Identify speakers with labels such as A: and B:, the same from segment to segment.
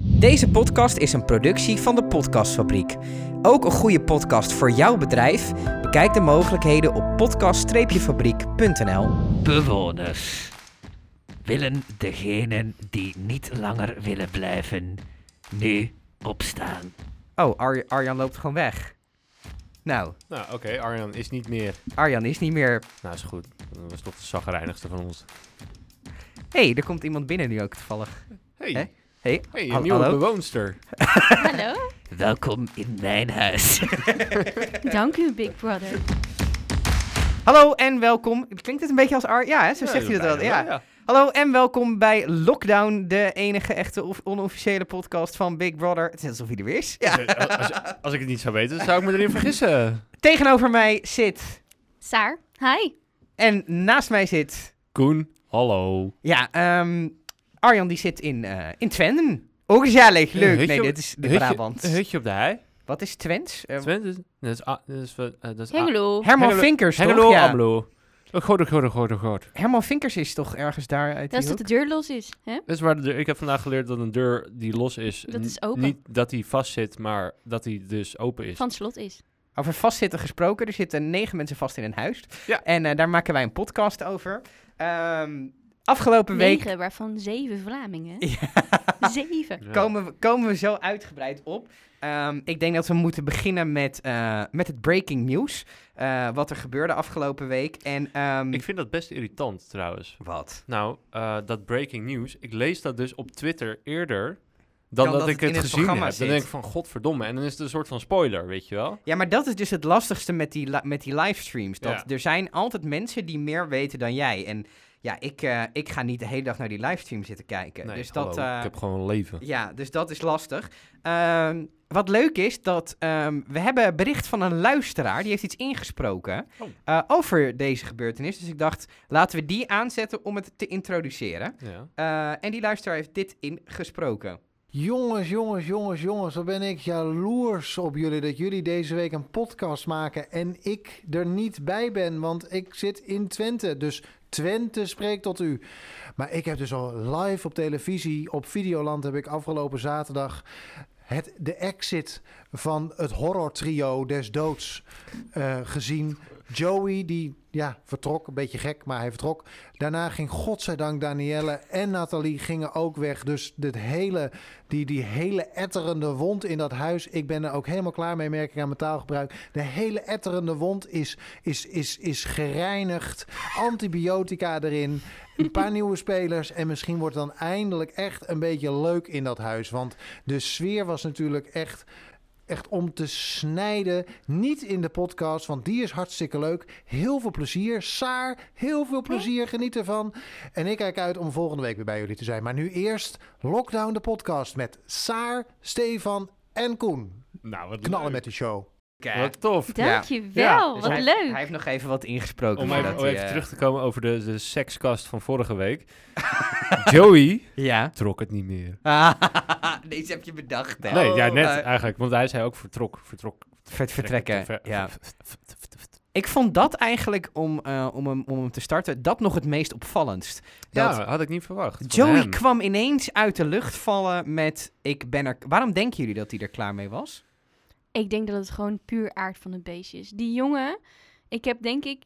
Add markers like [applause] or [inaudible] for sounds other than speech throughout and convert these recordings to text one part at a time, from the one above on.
A: Deze podcast is een productie van de Podcastfabriek. Ook een goede podcast voor jouw bedrijf? Bekijk de mogelijkheden op podcast-fabriek.nl.
B: bewoners willen degenen die niet langer willen blijven nu opstaan.
A: Oh, Ar- Arjan loopt gewoon weg. Nou,
C: Nou, oké, Arjan is niet meer.
A: Arjan is niet meer.
C: Nou, is goed. Dat was toch de zagrijnigste van ons.
A: Hé, hey, er komt iemand binnen nu ook toevallig.
C: Hey,
A: Hè? Hey,
C: hey een
A: hal-
C: nieuwe
A: hallo?
C: bewoonster.
D: Hallo,
B: Welkom in mijn huis.
D: dank u Big Brother.
A: Hallo en welkom. Klinkt het een beetje als Ar... Ja, hè? zo
C: Ja,
A: zegt hij dat wel. Ja.
C: bijna wel,
A: Hallo en welkom bij Lockdown, de enige echte of onofficiële podcast van Big Brother. Het is net alsof hij er weer is. Ja.
C: Als, als- als ik het niet zou weten, zou ik me erin vergissen.
A: Tegenover mij zit
D: Saar, hi.
A: en naast mij zit...
C: Koen, hallo.
A: Ja, ehm, Arjan die zit in, eh, in Twenten. Ook gezellig,
C: Ja,
A: leuk.
C: hutje
A: nee,
C: op-
A: dit is de
C: hutje-
A: Brabant.
C: Een hutje op de hei.
A: Wat is Twents? Eh,
C: Twente, is- dat is... a- Dat is, van- eh, dat is a-
D: Hengelo.
A: Herman
C: Hengelo-
A: Vinkers, toch?
C: Hengelo,
A: Ja.
C: Amelo. Oh, goed, goed, goed, goed, goed.
A: Herman Vinkers is toch ergens daar uit
D: Dat is
A: die
D: dat de deur los is, hè?
C: Dat is waar de deur- ik heb vandaag geleerd dat een deur die los is...
D: Dat
C: n-
D: is open.
C: Niet dat die vast zit, maar dat die dus open is.
D: Van het slot is.
A: hoek? Over vastzitten gesproken. Er zitten negen mensen vast in een huis.
C: Ja.
A: En eh, daar maken wij een podcast over. Ehm, afgelopen week
D: Negen, waarvan zeven Vlamingen.
A: Ja.
D: Zeven.
C: Ja.
A: komen we, komen we zo uitgebreid op. Ehm, ik denk dat we moeten beginnen met, eh, met het breaking news. Eh, wat er gebeurde afgelopen week. En, ehm,
C: Ik vind dat best irritant, trouwens.
A: Wat?
C: Nou, eh, dat breaking news. Ik lees dat dus op Twitter eerder dan
A: Dan
C: dat,
A: dat
C: ik
A: het in
C: het,
A: het
C: gezien heb.
A: programma
C: Dan
A: zit.
C: denk ik van godverdomme. En dan is het een soort van spoiler, weet je wel?
A: Ja, maar dat is dus het lastigste met die, li- met die livestreams. Dat
C: Ja.
A: er zijn altijd mensen die meer weten dan jij. En ja, ik, eh, ik ga niet de hele dag naar die livestream zitten kijken.
C: Nee,
A: dus dat,
C: hallo,
A: eh,
C: ik heb gewoon een leven.
A: Ja, dus dat is lastig. Ehm, wat leuk is, dat ehm, we hebben een bericht van een luisteraar. Die heeft iets ingesproken
C: Oh.
A: eh, over deze gebeurtenis. Dus ik dacht, laten we die aanzetten om het te introduceren.
C: Ja.
A: Eh, en die luisteraar heeft dit ingesproken.
E: Jongens, jongens, jongens, jongens, wat ben ik jaloers op jullie dat jullie deze week een podcast maken en ik er niet bij ben, want ik zit in Twente, dus Twente spreekt tot u. Maar ik heb dus al live op televisie, op Videoland heb ik afgelopen zaterdag het, de exit van het horror trio des doods eh, gezien. Joey, die ja, vertrok, een beetje gek, maar hij vertrok. Daarna ging godzijdank Danielle en Nathalie gingen ook weg. Dus dit hele, die, die hele etterende wond in dat huis, ik ben er ook helemaal klaar mee, merk ik aan mijn taalgebruik. De hele etterende wond is, is, is, is gereinigd, antibiotica erin, een paar nieuwe spelers. En misschien wordt het dan eindelijk echt een beetje leuk in dat huis. Want de sfeer was natuurlijk echt echt om te snijden. Niet in de podcast, want die is hartstikke leuk. Heel veel plezier. Saar, heel veel plezier. Geniet ervan. En ik kijk uit om volgende week weer bij jullie te zijn. Maar nu eerst Lockdown de podcast met Saar, Stefan en Koen.
C: Nou, wat
E: Knallen
C: leuk.
E: met de show.
C: Wat tof.
D: Dank
A: Ja.
D: je
C: Ja,
D: wel,
C: dus
D: Oh,
A: hij,
D: wat leuk.
A: Hij heeft nog even wat ingesproken.
C: Om
A: voordat
C: even, om
A: hij,
C: even
A: eh,
C: terug te komen over de, de sekskast van vorige [laughs] week. Joey
A: Ja.
C: trok het niet meer.
A: [laughs] Deze heb je bedacht, hè?
C: Nee, ja, net
A: Eh,
C: eigenlijk. Want hij zei ook vertrok. Vertrok.
A: Ver- vertrekken,
C: ver-
A: ja.
C: ver- ver- ver- ver- ver-
A: Ik vond dat eigenlijk, om, eh, om, hem, om hem te starten, dat nog het meest opvallendst. Dat
C: Ja, Nou, had ik niet verwacht. van
A: Joey
C: hem.
A: kwam ineens uit de lucht vallen met... Ik ben er... Waarom denken jullie dat hij er klaar mee was?
D: Ik denk dat het gewoon puur aard van het beestje is. Die jongen, ik heb denk ik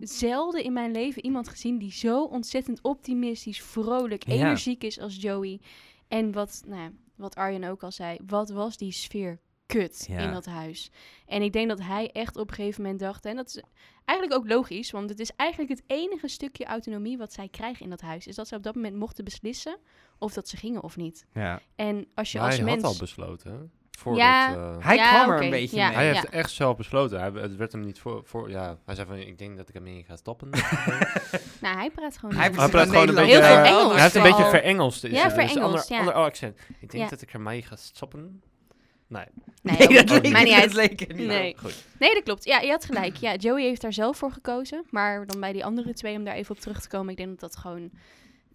D: zelden in mijn leven iemand gezien die zo ontzettend optimistisch, vrolijk,
A: Ja.
D: energiek is als Joey. En wat, nou, ja, wat Arjen ook al zei, wat was die sfeer kut
A: Ja.
D: in dat huis. En ik denk dat hij echt op een gegeven moment dacht, en dat is eigenlijk ook logisch, want het is eigenlijk het enige stukje autonomie wat zij krijgen in dat huis, is dat ze op dat moment mochten beslissen of dat ze gingen of niet.
A: Ja.
D: En als je
C: Maar
D: als
C: hij
D: mens...
C: had al besloten. hè, Voordat,
D: Ja.
C: eh,
A: Hij
D: Ja,
A: kwam er
D: oké,
A: een beetje
D: ja.
A: mee.
C: Hij
A: [laughs]
C: heeft echt zelf besloten. Hij, het werd hem niet voor, voor... Ja, hij zei van, ik denk dat ik hem niet ga stappen. hij
D: nou, hij praat gewoon
A: Hij
D: niet.
C: praat
A: precies
C: gewoon een
A: Nederlands.
C: beetje- Heel
D: veel Engels.
A: Ja.
D: Hij
C: heeft een beetje
D: Oh.
C: verengeld. Is
D: Ja,
C: het. Dus
D: verengeld,
C: ander,
D: ja.
C: ander accent. Ik denk
D: Ja.
C: dat ik ermee ga stappen. Nee,
D: Nee,
A: Nee,
D: ook
A: dat
D: niet.
A: leek,
D: Maakt niet uit.
A: dat leek er niet. Oh.
D: Nee.
C: goed.
D: Nee, dat klopt. Ja, je had gelijk. Ja, Joey heeft daar zelf voor gekozen. Maar dan bij die andere twee, om daar even op terug te komen, ik denk dat dat gewoon.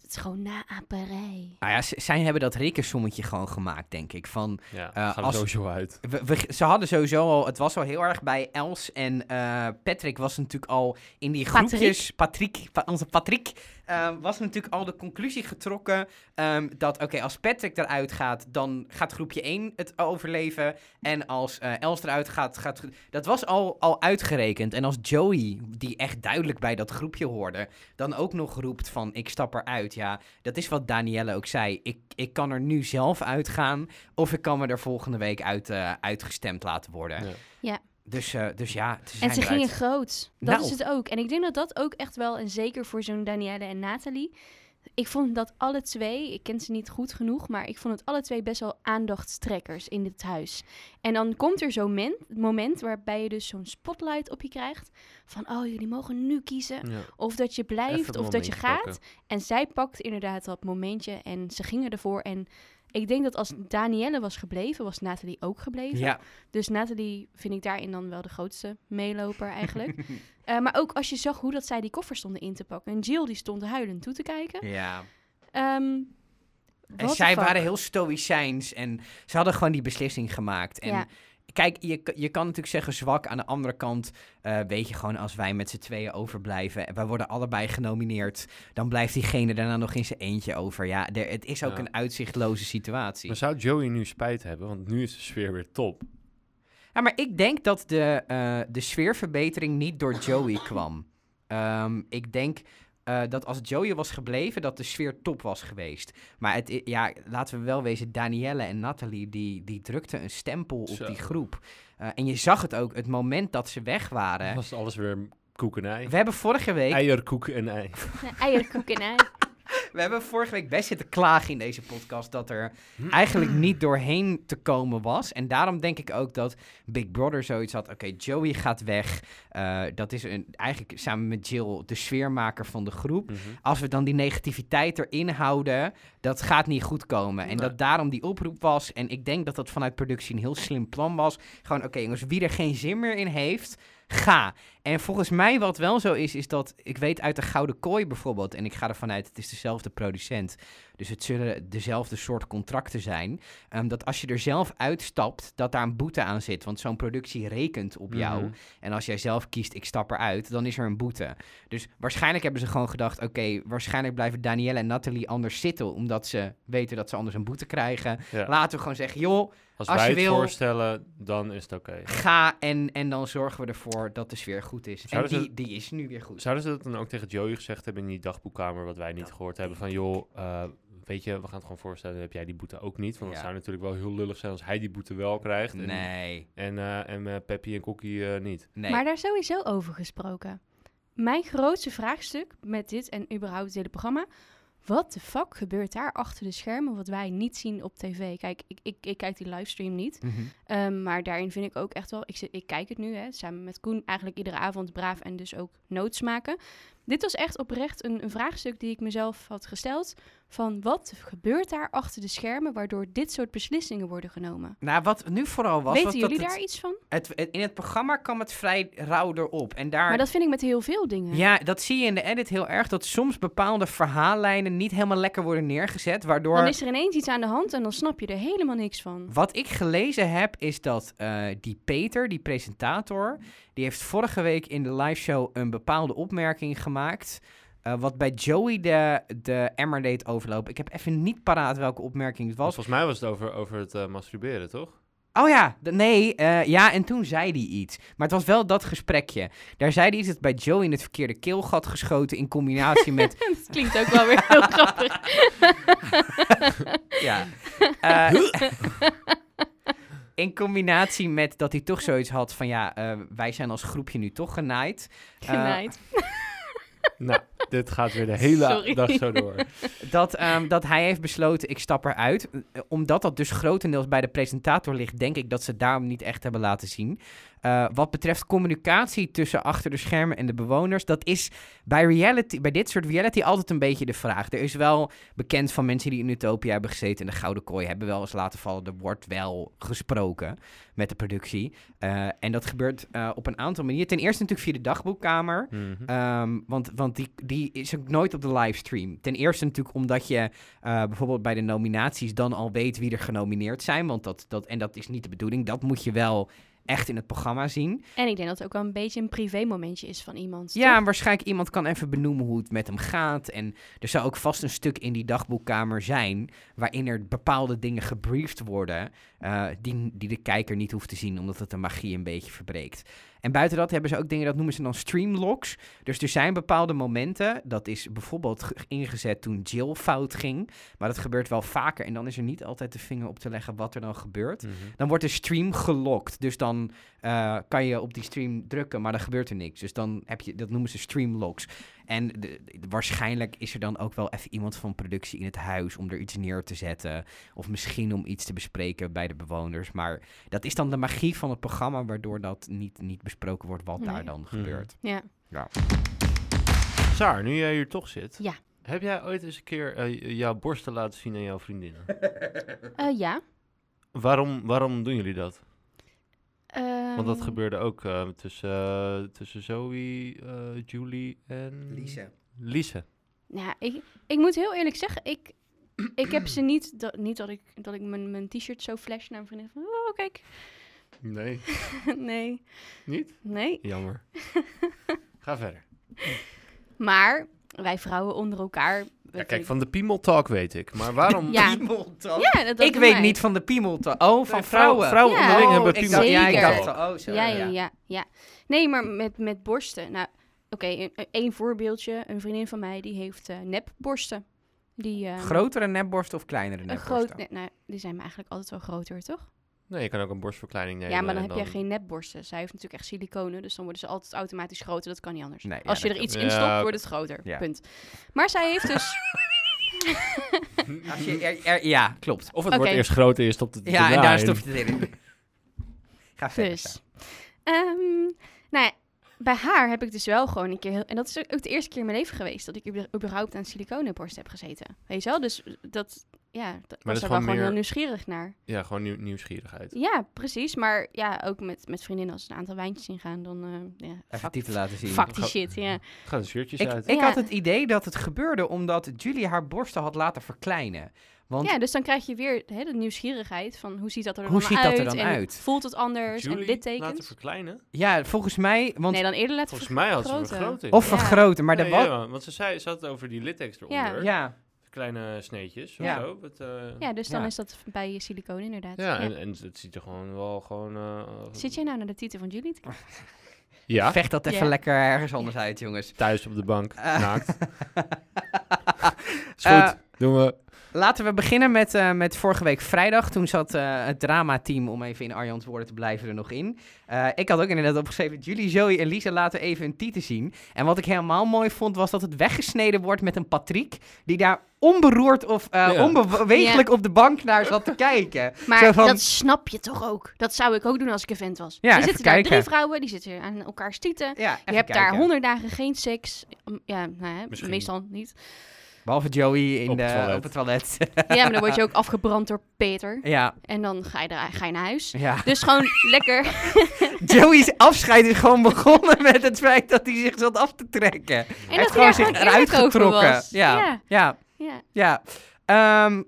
D: Het is gewoon naaperij.
A: Nou ja, z- zij hebben dat rekensommetje gewoon gemaakt, denk ik. Van,
C: Ja,
A: Eh,
C: gaat er
A: als-
C: sowieso uit.
A: we, we- ze hadden sowieso al... Het was al heel erg bij Els en eh, Patrick was natuurlijk al in die
D: Patrick.
A: groepjes... Patrick. Pa- onze Patrick. eh, ehm, was natuurlijk al de conclusie getrokken ehm, dat, oké, als Patrick eruit gaat, dan gaat groepje 1 het overleven. En als eh Els eruit gaat, gaat... gro- Dat was al, al uitgerekend. En als Joey, die echt duidelijk bij dat groepje hoorde, dan ook nog roept van, ik stap eruit. Ja, dat is wat Danielle ook zei. Ik, ik kan er nu zelf uitgaan of ik kan me er volgende week uit, eh, uitgestemd laten worden.
C: Ja.
D: Ja.
A: Dus, eh, dus ja, ze zijn
D: En ze
A: eruit.
D: gingen groot. Dat
A: Nou.
D: is het ook. En ik denk dat dat ook echt wel, en zeker voor zo'n Danielle en Nathalie. Ik vond dat alle twee, ik ken ze niet goed genoeg, maar ik vond het alle twee best wel aandachtstrekkers in dit huis. En dan komt er zo'n men- moment waarbij je dus zo'n spotlight op je krijgt. Van, oh, jullie mogen nu kiezen.
C: Ja.
D: Of dat je
C: Even
D: blijft,
C: het
D: of dat je
C: momentje
D: gaat.
C: pakken.
D: En zij pakt inderdaad dat momentje en ze gingen ervoor. En ik denk dat als Danielle was gebleven, was Nathalie ook gebleven.
A: Ja,
D: Dus Nathalie vind ik daarin dan wel de grootste meeloper eigenlijk.
A: [laughs]
D: Eh, maar ook als je zag hoe dat zij die koffer stonden in te pakken. En Jill die stond huilend toe te kijken.
A: ja.
D: Ehm,
A: En
D: what the
A: zij
D: fuck?
A: waren heel stoïcijns en ze hadden gewoon die beslissing gemaakt. En
D: Ja.
A: kijk, je, k- je kan natuurlijk zeggen zwak. Aan de andere kant eh, weet je gewoon, als wij met z'n tweeën overblijven... en wij worden allebei genomineerd... dan blijft diegene daarna nog in zijn eentje over. Ja, er- het is ook
C: Ja.
A: een uitzichtloze situatie.
C: Maar zou Joey nu spijt hebben? Want nu is de sfeer weer top.
A: Ja, maar ik denk dat de, eh, de sfeerverbetering niet door Joey [coughs] kwam. Ehm, ik denk eh, dat als Joey was gebleven, dat de sfeer top was geweest. Maar het, i- ja, laten we wel wezen, Danielle en Nathalie, die, die drukten een stempel op
C: Zo.
A: die groep. Eh, en je zag het ook, het moment dat ze weg waren.
C: was alles weer koekenij.
A: We hebben vorige week
C: Eierkoek en ei.
D: nou, eierkoek en ei.
A: We hebben vorige week best zitten klagen in deze podcast dat er eigenlijk niet doorheen te komen was. En daarom denk ik ook dat Big Brother zoiets had. Oké, Joey gaat weg. Eh, dat is een, eigenlijk samen met Jill de sfeermaker van de groep.
C: Mhm.
A: Als we dan die negativiteit erin houden, dat gaat niet goed komen. En
C: Nee.
A: dat daarom die oproep was. En ik denk dat dat vanuit productie een heel slim plan was. Gewoon, oké jongens, wie er geen zin meer in heeft, ga. En volgens mij wat wel zo is, is dat ik weet uit de Gouden Kooi bijvoorbeeld, en ik ga ervan uit, het is dezelfde producent, dus het zullen dezelfde soort contracten zijn, ehm, dat als je er zelf uitstapt, dat daar een boete aan zit. Want zo'n productie rekent op jou.
C: Mhm.
A: En als jij zelf kiest, ik stap eruit, dan is er een boete. Dus waarschijnlijk hebben ze gewoon gedacht, oké, waarschijnlijk blijven Danielle en Nathalie anders zitten, omdat ze weten dat ze anders een boete krijgen.
C: Ja.
A: Laten we gewoon zeggen, joh,
C: Als,
A: Als
C: wij
A: je
C: het
A: wil-
C: voorstellen, dan is het oké.
A: ga en, en dan zorgen we ervoor dat de sfeer goed is.
C: Zouden
A: en
C: ze-
A: die, die is nu weer goed.
C: Zouden ze dat dan ook tegen Joey gezegd hebben in die dagboekkamer, wat wij niet gehoord hebben? Van joh, eh, weet je, we gaan het gewoon voorstellen, dan heb jij die boete ook niet? Want
A: Ja.
C: het zou natuurlijk wel heel lullig zijn als hij die boete wel krijgt. En,
A: Nee,
C: en, eh, en eh, Peppy en Kokkie eh, niet.
A: nee.
D: Maar daar sowieso over gesproken. Mijn grootste vraagstuk met dit en überhaupt dit hele programma. Wat de fuck gebeurt daar achter de schermen wat wij niet zien op tv? Kijk, ik, ik, ik kijk die livestream niet.
A: Mhm.
D: Ehm, maar daarin vind ik ook echt wel, ik, zit- ik kijk het nu hè, samen met Koen eigenlijk iedere avond braaf en dus ook notes maken. Dit was echt oprecht een, een vraagstuk die ik mezelf had gesteld. Van wat gebeurt daar achter de schermen waardoor dit soort beslissingen worden genomen?
A: Nou, wat nu vooral was, was
D: Weten
A: dat
D: jullie
A: het-
D: daar iets van?
A: het, het- in het programma kwam het vrij rauw erop. En daar,
D: Maar dat vind ik met heel veel dingen.
A: ja, dat zie je in de edit heel erg, dat soms bepaalde verhaallijnen niet helemaal lekker worden neergezet, waardoor...
D: Dan is er ineens iets aan de hand en dan snap je er helemaal niks van. [laughs]
A: Wat ik gelezen heb, is dat eh, die Peter, die presentator, die heeft vorige week in de liveshow een bepaalde opmerking gemaakt. eh, wat bij Joey de, de emmer deed overlopen. Ik heb even niet paraat welke opmerking het
C: Want
A: was.
C: volgens mij was het over, over het eh,
A: [laughs]
C: masturberen, toch?
A: Oh ja, d- nee, eh, ja, en toen zei hij iets. Maar het was wel dat gesprekje. Daar zei hij iets dat bij Joey in het verkeerde keelgat geschoten in combinatie
D: [laughs]
A: met...
D: Dat klinkt ook wel weer
A: [laughs]
D: heel
A: Eh,
D: grappig.
A: ja. Eh, in combinatie met dat hij toch zoiets had van ja, eh, wij zijn als groepje nu toch genaaid.
D: Genaaid.
C: nou, dit gaat weer de hele
D: Sorry.
C: dag zo
A: [laughs]
C: door.
A: Dat, ehm, dat hij heeft besloten, ik stap eruit. Eh, Omdat dat dus grotendeels bij de presentator ligt, denk ik dat ze het daarom niet echt hebben laten zien. Eh, wat betreft communicatie tussen achter de schermen en de bewoners, dat is bij, reality, bij dit soort reality altijd een beetje de vraag. Er is wel bekend van mensen die in Utopia hebben gezeten in de Gouden Kooi, hebben wel eens laten vallen, er wordt wel gesproken met de productie. Eh, en dat gebeurt eh, op een aantal manieren. Ten eerste natuurlijk via de dagboekkamer.
C: Mhm.
A: Ehm, want want die, die is ook nooit op de livestream. Ten eerste natuurlijk omdat je eh, bijvoorbeeld bij de nominaties dan al weet wie er genomineerd zijn. Want dat, dat, en dat is niet de bedoeling. Dat moet je wel echt in het programma zien.
D: En ik denk dat het ook wel een beetje een privémomentje is van iemand.
A: Ja, en waarschijnlijk iemand kan even benoemen hoe het met hem gaat. En er zou ook vast een stuk in die dagboekkamer zijn... waarin er bepaalde dingen gebriefd worden... eh, die, die de kijker niet hoeft te zien, omdat het de magie een beetje verbreekt. En buiten dat hebben ze ook dingen, dat noemen ze dan streamlogs. Dus er zijn bepaalde momenten, dat is bijvoorbeeld ge- ingezet toen Jill fout ging... maar dat gebeurt wel vaker en dan is er niet altijd de vinger op te leggen wat er dan gebeurt...
C: Mhm.
A: Dan wordt de stream gelokt. Dus dan eh, kan je op die stream drukken, maar dan gebeurt er niks. Dus dan heb je, dat noemen ze streamlocks. En de- de- waarschijnlijk is er dan ook wel even iemand van productie in het huis om er iets neer te zetten. Of misschien om iets te bespreken bij de bewoners. Maar dat is dan de magie van het programma, waardoor dat niet, niet besproken wordt wat daar
D: Nee.
A: dan [laughs] gebeurt.
D: Ja.
C: Saar, nu jij hier toch zit.
D: Ja.
C: Heb jij ooit eens een keer eh, jouw borsten laten zien aan jouw vriendinnen?
D: Eh, ja.
C: waarom, waarom doen jullie dat? Want dat
D: Ehm,
C: gebeurde ook eh, tussen, eh, tussen Zoe, eh, Julie en... Lise.
D: Nou, ik, ik moet heel eerlijk zeggen, ik, ik heb ze niet... Dat, niet dat ik, dat ik mijn, mijn t-shirt zo flash naar een vriendin van... Oh, kijk. [laughs]
C: Nee,
D: nee.
C: Niet?
D: Nee. [laughs]
C: jammer. Ga verder.
D: Maar wij vrouwen onder elkaar...
C: Ja, kijk, van de Piemel Talk weet ik. Maar waarom...
D: Ja. Ja, dat- dat
A: ik
D: doen
A: weet
D: wij.
A: niet van de piemeltal. Oh, van
C: Nee,
A: vrouwen.
C: Vrouwen
D: Ja.
C: onderling hebben
A: ik
D: Piemel-
A: dacht,
C: Piemel
A: ja, ik
D: Zeker.
A: dacht, al, oh, zo.
D: ja, ja, ja, ja. Nee, maar met, met borsten. Nou, oké, een één voorbeeldje. Een vriendin van mij die heeft eh nepborsten. Die, eh,
A: Grotere nepborsten of kleinere
D: Een
A: nepborsten?
D: groot, nee, nou, die zijn me eigenlijk altijd wel groter, toch?
C: Nee, je kan ook een borstverkleining nemen.
D: ja, maar dan
C: en
D: heb je geen nepborsten. Zij heeft natuurlijk echt siliconen, dus dan worden ze altijd automatisch groter. Dat kan niet anders.
A: Nee, ja,
D: Als je
A: dat
D: er iets
C: kan.
D: in
C: Ja,
D: stopt,
C: oké.
D: wordt het groter.
A: Ja.
D: Punt. Maar zij heeft dus...
A: [laughs]
D: [laughs]
C: [laughs]
A: Als je er- er- ja, klopt.
C: Of het
D: Oké. wordt eerst
C: groter en stopt het
A: Ja, en daar stop je het in. [laughs] Ga verder. Saar.
D: dus... Ehm, nou ja, bij haar heb ik dus wel gewoon een keer... Heel, en dat is ook ook de eerste keer in mijn leven geweest... dat ik ube- überhaupt aan siliconenborsten heb gezeten. Weet je wel? Dus dat... Ja, dat
C: dat is
D: was daar wel
C: gewoon
D: gewoon
C: meer-
D: heel nieuwsgierig naar.
C: Ja, gewoon nieuw- nieuwsgierigheid.
D: Ja, precies. Maar ja, ook met, met vriendinnen als ze een aantal wijntjes ingaan, dan... eh ja,
A: Even
D: fuck,
A: dieper laten zien.
D: fuck die shit, ja.
C: Ga de shirtjes
A: Ik,
C: uit.
A: ik
D: Ja.
A: had het idee dat het gebeurde omdat Julie haar borsten had laten verkleinen. Want
D: Ja, dus dan krijg je weer hè, de nieuwsgierigheid van hoe ziet dat er
A: Hoe
D: dan
A: ziet dat
D: uit?
A: er dan
D: en
A: uit?
D: Voelt het anders? en
C: laten
D: littekens?
C: verkleinen?
A: ja, volgens mij... Want,
D: Nee, dan eerder laten
C: Volgens mij had ze een
D: vergroten.
C: vergroting.
A: of
D: Ja.
A: vergroten, maar
C: Nee,
A: de
C: ja,
A: wat...
C: man, want ze, zei, ze had het over die littekens
D: Ja.
A: Ja,
C: eronder. Kleine sneetjes of
A: Ja.
C: zo. wat, eh,
D: Ja, dus dan
A: Ja.
D: is dat bij je siliconen inderdaad.
C: Ja,
D: Ja.
C: en, en het ziet er gewoon wel gewoon... eh,
D: Zit jij nou naar de titel van Julie? te kijken?
C: Ja,
A: vecht dat even
D: Ja.
A: lekker ergens anders uit, jongens.
C: thuis op de bank,
A: Eh.
D: [laughs]
C: naakt. Is goed,
A: Eh,
C: doen we.
A: Laten we beginnen met, eh, met vorige week vrijdag. Toen zat eh, het dramateam, om even in Arjan's woorden te blijven, er nog in. Eh, ik had ook inderdaad opgeschreven, Julie, Zoe en Lisa laten even hun tieten zien. En wat ik helemaal mooi vond, was dat het weggesneden wordt met een Patrick... die daar onberoerd of eh
C: Ja.
A: onbewegelijk op de bank naar zat te kijken. Zo
D: Maar
A: van-
D: dat snap je toch ook? Dat zou ik ook doen als ik een vent was.
A: Ja,
D: er
A: even
D: zitten daar drie
A: kijken.
D: vrouwen, die zitten aan elkaar stieten.
A: Ja,
D: Je
A: even
D: hebt daar
A: kijken.
D: honderd dagen geen seks. Um, Ja, nou, hè,
C: Misschien.
D: meestal niet.
A: Behalve Joey in
C: Op het
A: de-
C: toilet.
A: op het toilet. [laughs]
D: Ja, maar dan word je ook afgebrand door Peter.
A: ja,
D: En dan ga je, daar, ga je naar huis.
A: ja. [laughs]
D: Dus gewoon lekker...
A: Joey's afscheid is gewoon begonnen met het feit dat hij zich zat af te trekken.
D: En
A: heeft
D: dat hij
A: gewoon
D: daar
A: zich
D: gewoon eerlijk over was.
A: Ja,
D: Ja.
A: ja,
D: ja.
A: ja. Ehm,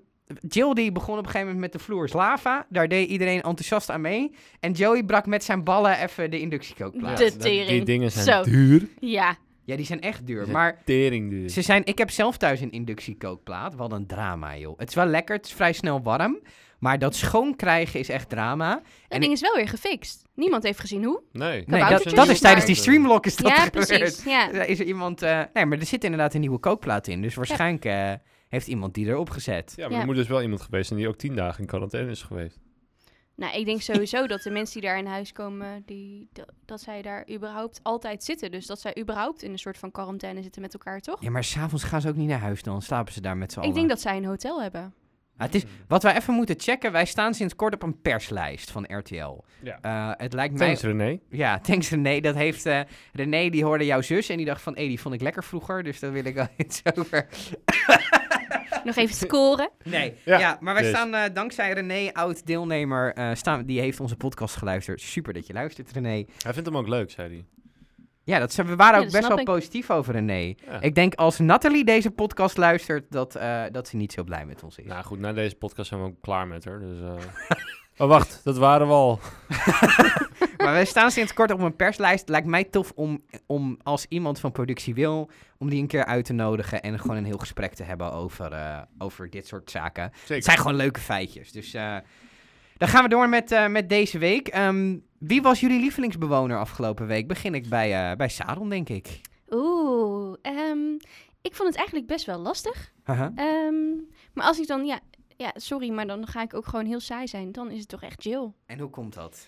A: Jill die begon op een gegeven moment met de vloer is lava. Daar deed iedereen enthousiast aan mee. En Joey brak met zijn ballen even de inductiekookplaat.
D: De
C: dat- Die
D: tering.
C: dingen zijn
D: Zo.
C: duur.
D: Ja.
A: Ja, die zijn echt duur.
C: Ja.
A: Maar
C: Tering duur.
A: Ze zijn, ik heb zelf thuis een inductiekookplaat. Wat een drama, joh. Het is wel lekker, het is vrij snel warm. Maar dat schoon krijgen is echt drama.
D: Dat ding is wel weer gefixt. Niemand heeft gezien hoe.
C: Nee.
A: Nee, dat,
D: Kaboutertjes,
A: dat is tijdens
D: maar-
A: die streamlock is [laughs] dat
D: ja,
A: gebeurd.
D: precies. Ja.
A: Ja, Is [laughs] er iemand... eh, nee, maar er zit inderdaad een nieuwe kookplaat in. Dus waarschijnlijk eh, heeft iemand die erop gezet.
C: Ja, maar
D: Ja.
C: er moet dus wel iemand geweest zijn die ook tien dagen in quarantaine is geweest.
D: Nou, ik denk sowieso dat de mensen die daar in huis komen, die, dat, dat zij daar überhaupt altijd zitten. Dus dat zij überhaupt in een soort van quarantaine zitten met elkaar, toch?
A: Ja, maar s'avonds gaan ze ook niet naar huis dan. Slapen ze daar met z'n allen.
D: ik denk dat zij een hotel hebben.
A: Ah, het is,
C: Hmm.
A: wat wij even moeten checken... Wij staan sinds kort op een perslijst van RTL.
C: Ja.
A: Eh, het lijkt mij...
C: Thanks René.
A: Ja, [laughs] thanks René. Dat heeft eh, René, die hoorde jouw zus en die dacht van... Hé, die vond ik lekker vroeger, dus daar wil ik wel [laughs] iets over.
D: Nog even scoren.
A: Nee, ja,
C: Ja,
A: maar wij
C: dus.
A: staan eh, dankzij René, oud deelnemer, eh, staan, die heeft onze podcast geluisterd. Super dat je luistert, René.
C: Hij vindt hem ook leuk, zei hij.
A: Ja, dat, ze- we waren
D: Ja,
A: ook
D: dat
A: best
D: snap
A: wel
D: ik.
A: positief over René.
C: Ja.
A: Ik denk als Nathalie deze podcast luistert, dat, eh, dat ze niet zo blij met ons is.
C: Nou goed, na
D: [laughs]
C: deze podcast zijn we ook klaar met haar. Dus, eh. oh wacht, dat waren we al.
A: Maar wij staan sinds kort op een perslijst. Lijkt mij tof om, om als iemand van productie wil, om die een keer uit te nodigen en gewoon een heel gesprek te hebben over, eh, over dit soort zaken. Het zijn
C: Zeker.
A: gewoon leuke feitjes. Dus eh, dan gaan we door met, eh, met deze week. Ehm, wie was jullie lievelingsbewoner afgelopen week? Begin ik bij, eh, bij Saron, denk ik.
D: Oeh, ehm, ik vond het eigenlijk best wel lastig.
A: Haha.
D: Ehm, maar als ik dan, ja, ja, sorry, maar dan ga ik ook gewoon heel saai zijn. Dan is het toch echt Jill.
A: En hoe komt dat?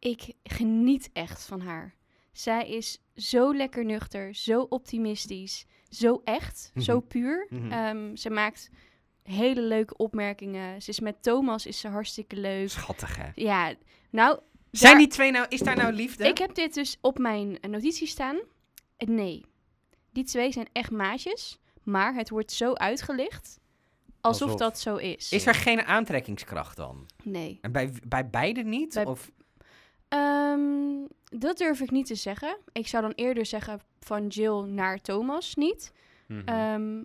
D: Ik geniet echt van haar. Zij is zo lekker nuchter, zo optimistisch, zo echt, zo
A: Mhm.
D: puur.
A: Mhm.
D: Ehm, ze maakt hele leuke opmerkingen. Ze is met Thomas is ze hartstikke leuk.
A: Schattig, hè?
D: Ja, nou,
A: Zijn
D: daar-
A: die twee nou... Is daar nou liefde?
D: ik heb dit dus op mijn eh, notitie staan. Eh, Nee, die twee zijn echt maatjes, maar het wordt zo uitgelicht alsof,
C: Alsof.
D: dat zo is.
A: Is er geen aantrekkingskracht dan?
D: Nee,
A: En bij, bij beide niet?
D: Bij-
A: Of...
D: Ehm, dat durf ik niet te zeggen. Ik zou dan eerder zeggen van Jill naar Thomas niet.
C: Mhm.
D: Ehm,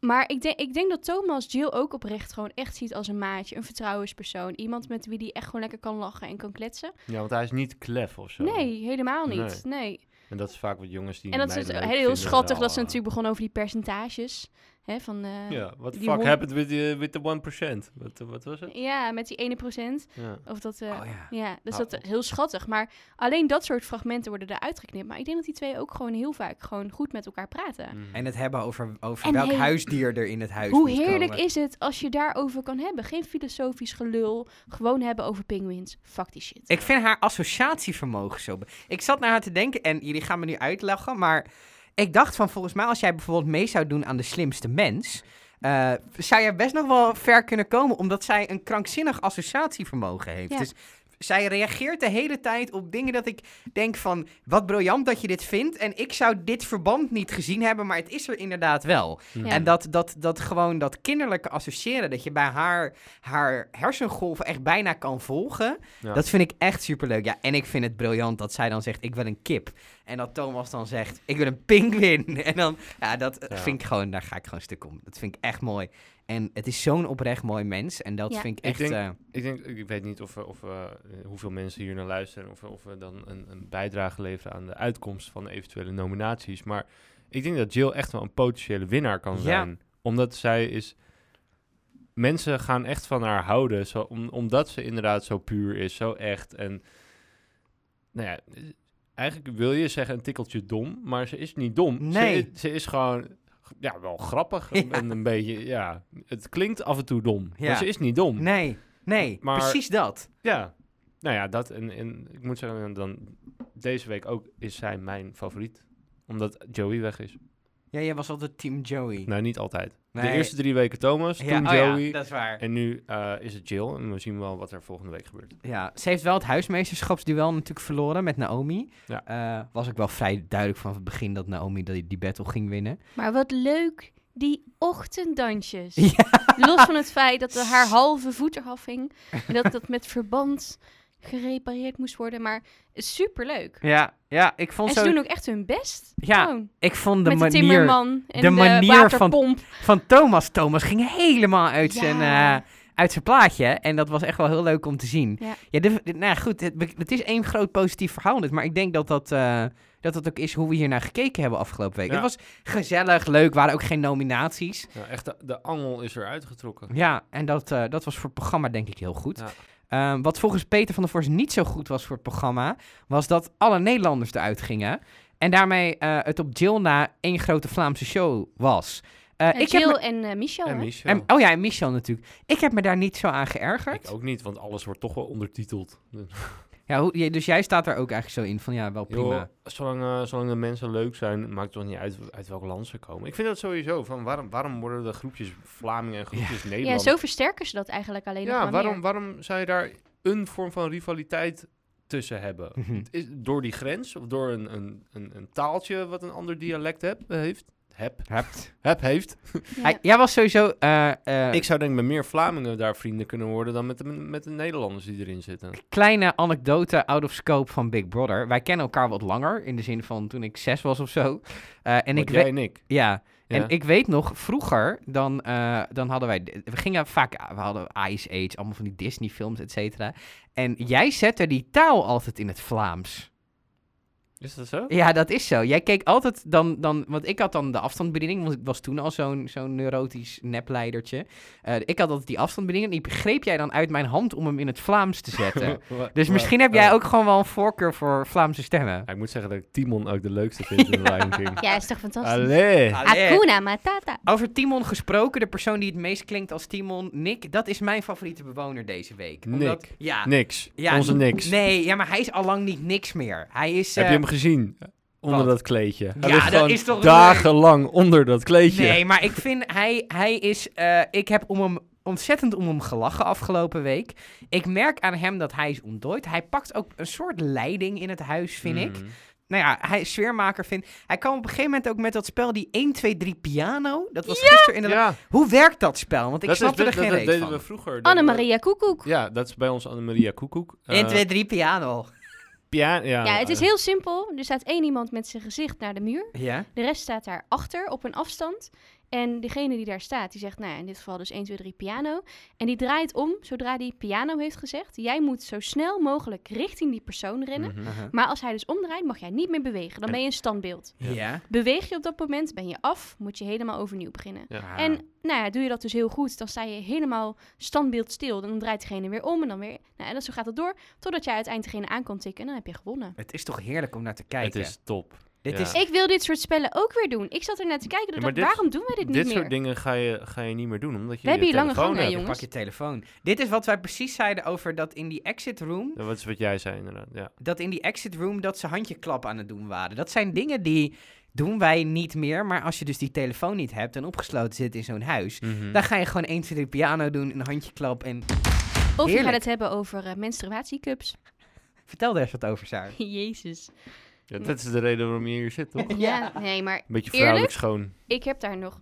D: maar ik denk, ik denk dat Thomas Jill ook oprecht gewoon echt ziet als een maatje, een vertrouwenspersoon. Iemand met wie die echt gewoon lekker kan lachen en kan kletsen.
C: ja, want hij is niet klef of zo.
D: Nee, helemaal niet. Nee.
C: En dat is vaak wat jongens die
D: En dat is
C: meiden
D: heel,
C: leuk
D: heel
C: vinden
D: schattig
C: wel,
D: dat ze
C: eh.
D: natuurlijk begonnen over die percentages. Hè, van, eh, ja.
C: Ja, what the
D: die
C: fuck
D: hond-
C: happened with the, with the 1%? Wat, wat was het?
D: met die ene procent.
C: Ja.
D: Of dat, eh,
A: oh ja.
D: Ja, dus
C: Nou,
D: dat is heel schattig. Maar alleen dat soort fragmenten worden eruit geknipt. Maar ik denk dat die twee ook gewoon heel vaak gewoon goed met elkaar praten.
C: Mhm.
A: En het hebben over, over
D: En
A: welk
D: hey,
A: huisdier er in het huis
D: Hoe
A: moet
D: heerlijk
A: komen.
D: is het als je daarover kan hebben? Geen filosofisch gelul. Gewoon hebben over penguins. Fuck die shit.
A: Ik vind haar associatievermogen zo... be- Ik zat naar haar te denken en jullie gaan me nu uitlachen, maar... Ik dacht van, volgens mij als jij bijvoorbeeld mee zou doen aan de slimste mens... eh, zou jij best nog wel ver kunnen komen, omdat zij een krankzinnig associatievermogen heeft.
D: Ja.
A: Dus zij reageert de hele tijd op dingen dat ik denk van... Wat briljant dat je dit vindt en ik zou dit verband niet gezien hebben, maar het is er inderdaad wel.
D: Ja.
A: En dat, dat, dat gewoon dat kinderlijke associëren, dat je bij haar, haar hersengolven echt bijna kan volgen.
C: Ja.
A: Dat vind ik echt superleuk. Ja, en ik vind het briljant dat zij dan zegt, ik wil een kip. En dat Thomas dan zegt, ik wil een pinguïn. [laughs] En dan, ja, dat eh,
C: Ja.
A: vind ik gewoon, daar ga ik gewoon stuk om. Dat vind ik echt mooi. En het is zo'n oprecht mooi mens. En dat
D: Ja.
A: vind ik
C: Ik
A: echt...
C: denk-
A: eh,
C: Ik, denk, ik weet niet of, we- of, we, eh, hoeveel mensen hier naar luisteren. Of, we- of we dan een, een bijdrage leveren aan de uitkomst van eventuele nominaties. Maar ik denk dat Jill echt wel een potentiële winnaar kan
A: Ja.
C: zijn. Omdat zij is. Mensen gaan echt van haar houden. Zo, om- omdat ze inderdaad zo puur is, zo echt. En. Nou ja, eh, eigenlijk wil je zeggen een tikkeltje dom. Maar ze is niet dom. Ze
A: Nee.
C: is- Ze, is gewoon. Ja, wel grappig.
A: [laughs]
C: En een beetje. Ja, het klinkt af en toe dom.
A: Ja.
C: Maar ze is niet dom.
A: nee, nee,
C: Maar-
A: precies dat.
C: Ja, nou ja, dat en, en ik moet zeggen, dan deze week ook is zij mijn favoriet. Omdat Joey weg is.
A: Ja, jij was altijd team Joey.
C: Nou, niet altijd. De
A: Nee.
C: eerste drie weken Thomas,
A: ja,
C: toen
A: oh ja,
C: Joey.
A: dat is waar.
C: En nu eh, is het Jill en we zien wel wat er volgende week gebeurt.
A: Ja, ze heeft wel het huismeesterschapsduel natuurlijk verloren met Naomi.
C: Ja.
A: Eh, was ook wel vrij duidelijk vanaf het begin dat Naomi die, die battle ging winnen.
D: Maar wat leuk. Die ochtenddansjes.
A: [laughs] Ja.
D: Los van het feit dat haar halve voet eraf hing. En dat dat met verband gerepareerd moest worden. Maar superleuk.
A: Ja, ja ik vond
D: En ze doen ook echt hun best.
A: Ja,
D: Gewoon.
A: ik vond de
D: met de
A: manier
D: timmerman
A: de
D: en de,
A: manier van-
D: waterpomp.
A: van Thomas. Thomas ging helemaal uit zijn...
D: Ja.
A: eh, uit zijn plaatje. En dat was echt wel heel leuk om te zien. de-
D: Ja.
A: de- nou ja, goed, het, be- het is één groot positief verhaal dit. Maar ik denk dat dat, eh, dat dat ook is hoe we hier naar gekeken hebben afgelopen week. Het
C: Ja.
A: was gezellig, leuk, waren ook geen nominaties.
C: Nou, echt, de, de angel is eruit getrokken.
A: Ja, en dat, eh, dat was voor het programma denk ik heel goed.
C: Ja.
A: Ehm, wat volgens Peter van der Vorst niet zo goed was voor het programma, was dat alle Nederlanders eruit gingen. En daarmee eh, het op Jill na één grote Vlaamse show was. Eh,
D: En
A: ik heb
D: Jill
A: me-
D: en eh, Michel.
C: En
D: hè?
C: Michel.
A: en- oh ja, en Michel natuurlijk. Ik heb me daar niet zo aan geërgerd.
C: ik ook niet, want alles wordt toch wel ondertiteld. Dus,
A: Ja, hoe, je- dus jij staat er ook eigenlijk zo in van ja, wel prima.
C: Joh, zolang, eh, zolang de mensen leuk zijn, maakt het toch niet uit uit welk land ze komen. Ik vind dat sowieso. Van waarom, waarom worden de groepjes Vlamingen en groepjes
D: ja,
C: Nederlanders?
D: zo versterken ze dat eigenlijk alleen nog
C: Ja,
D: maar
C: waarom,
D: meer.
C: waarom zou je daar een vorm van rivaliteit tussen hebben?
A: Mhm.
C: Is, door die grens of door een, een, een, een taaltje wat een ander dialect heb, eh, heeft? Heb,
A: Hebt.
C: heb heeft.
D: Ja.
A: Hij- jij was sowieso. eh, eh,
C: Ik zou denk ik met meer Vlamingen daar vrienden kunnen worden dan met de, met de Nederlanders die erin zitten.
A: kleine anekdote out of scope van Big Brother. Wij kennen elkaar wat langer. In de zin van toen ik zes was of zo. Eh, en
C: En
A: ik
C: jij
A: weet.
C: en ik.
A: Ja. En ik weet nog, vroeger, dan, eh, dan hadden wij... We gingen vaak... We hadden Ice Age, allemaal van die Disney-films, et cetera. En jij zette die taal altijd in het Vlaams.
C: Is dat zo?
A: Ja, dat is zo. Jij keek altijd dan, dan want ik had dan de afstandsbediening, want ik was toen al zo'n zo'n neurotisch nepleidertje. Eh, ik had altijd die afstandsbediening en die begreep jij dan uit mijn hand om hem in het Vlaams te zetten.
C: [laughs] Wa-
A: dus
C: wa-
A: misschien heb jij
C: oh.
A: ook gewoon wel een voorkeur voor Vlaamse stemmen.
C: Ja, ik moet zeggen dat ik Timon ook de leukste vind in [laughs] de Lion King. Ah,
D: Ja, is toch fantastisch?
C: Allee.
D: Ah, Hakuna Matata.
A: Over Timon gesproken, de persoon die het meest klinkt als Timon, Nick, dat is mijn favoriete bewoner deze week.
C: Nick.
A: Ja,
C: Niks.
A: ja,
C: Onze niks.
A: Nee, ja, maar hij is allang niet niks meer. Hij is...
C: Heb
A: eh,
C: je hem gezien? Onder
A: Wat?
C: dat kleedje. Hij
A: Ja,
C: ligt
A: dat
C: gewoon
A: is toch-
C: dagenlang onder dat kleedje.
A: eh, Nee, maar ik vind hij, hij is. eh, ik heb om hem ontzettend om hem gelachen afgelopen week. Ik merk aan hem dat hij is ontdooid. Hij pakt ook een soort leiding in het huis, vind ik.
C: Mm.
A: Nou ja, hij is sfeermaker vindt. Hij kwam op een gegeven moment ook met dat spel die 1, 2, 3 piano. Dat was gisteren in de.
C: Ja,
A: Hoe werkt dat spel? Want ik
C: dat, is
A: snapte er
C: best-
A: geen
C: dat, dat
A: reet
C: deden
A: van.
C: we vroeger. deden we-
D: Annemaria Koekoek.
C: Ja, dat is bij ons Annemaria Koekoek. Eh,
A: 1, 2, 3 piano.
C: pia- ja,
D: Ja, het is
C: eh,
D: heel simpel. Er staat één iemand met zijn gezicht naar de muur.
A: Ja.
D: De rest staat daar achter op een afstand. En degene die daar staat, die zegt, nou ja, in dit geval dus 1, 2, 3 piano. En die draait om zodra die piano heeft gezegd. Jij moet zo snel mogelijk richting die persoon rennen.
C: mhm.
A: Uh-huh.
D: Maar als hij dus omdraait, mag jij niet meer bewegen. Dan ben je een standbeeld.
A: Ja. ja.
D: Beweeg je op dat moment, ben je af, moet je helemaal overnieuw beginnen.
C: Ja.
A: Ah.
D: En nou ja, doe je dat dus heel goed, dan sta je helemaal standbeeld stil. Dan draait degene weer om en dan weer. Nou, en dan zo gaat het door, totdat jij uiteindelijk degene aan kan tikken en dan heb je gewonnen.
A: Het is toch heerlijk om naar te
C: Het
A: kijken.
C: is top.
A: Dit
C: ja.
A: is.
D: Ik wil dit soort spellen ook weer doen. Ik zat er naar te kijken,
C: Ja,
D: en
C: maar
D: dacht,
C: dit-
D: waarom doen wij dit,
C: Dit
D: niet
C: soort
D: meer?
C: dingen ga je, ga je niet meer doen, omdat je
D: hebben
C: je
D: hier lange
C: telefoon
D: gangen,
C: hebt.
D: jongen.
A: Pak je telefoon. Dit is wat wij precies zeiden over dat in die exit room.
C: Ja, Dat is wat jij zei inderdaad, ja.
A: dat in die exit room dat ze handjeklap aan het doen waren. Dat zijn dingen die doen wij niet meer. Maar als je dus die telefoon niet hebt en opgesloten zit in zo'n huis,
C: Hm.
A: dan ga je gewoon 1, 2, 3 piano doen, een handjeklap en...
D: Of je gaat
A: Heerlijk.
D: het hebben over eh, menstruatiecups.
A: Vertel daar eens wat over, Saar.
D: [laughs] Jezus.
C: Ja, Dat is de reden waarom je hier zit, toch? Een
D: Ja, nee, maar
C: beetje
D: Eerlijk?
C: vrouwelijk schoon.
D: ik heb daar nog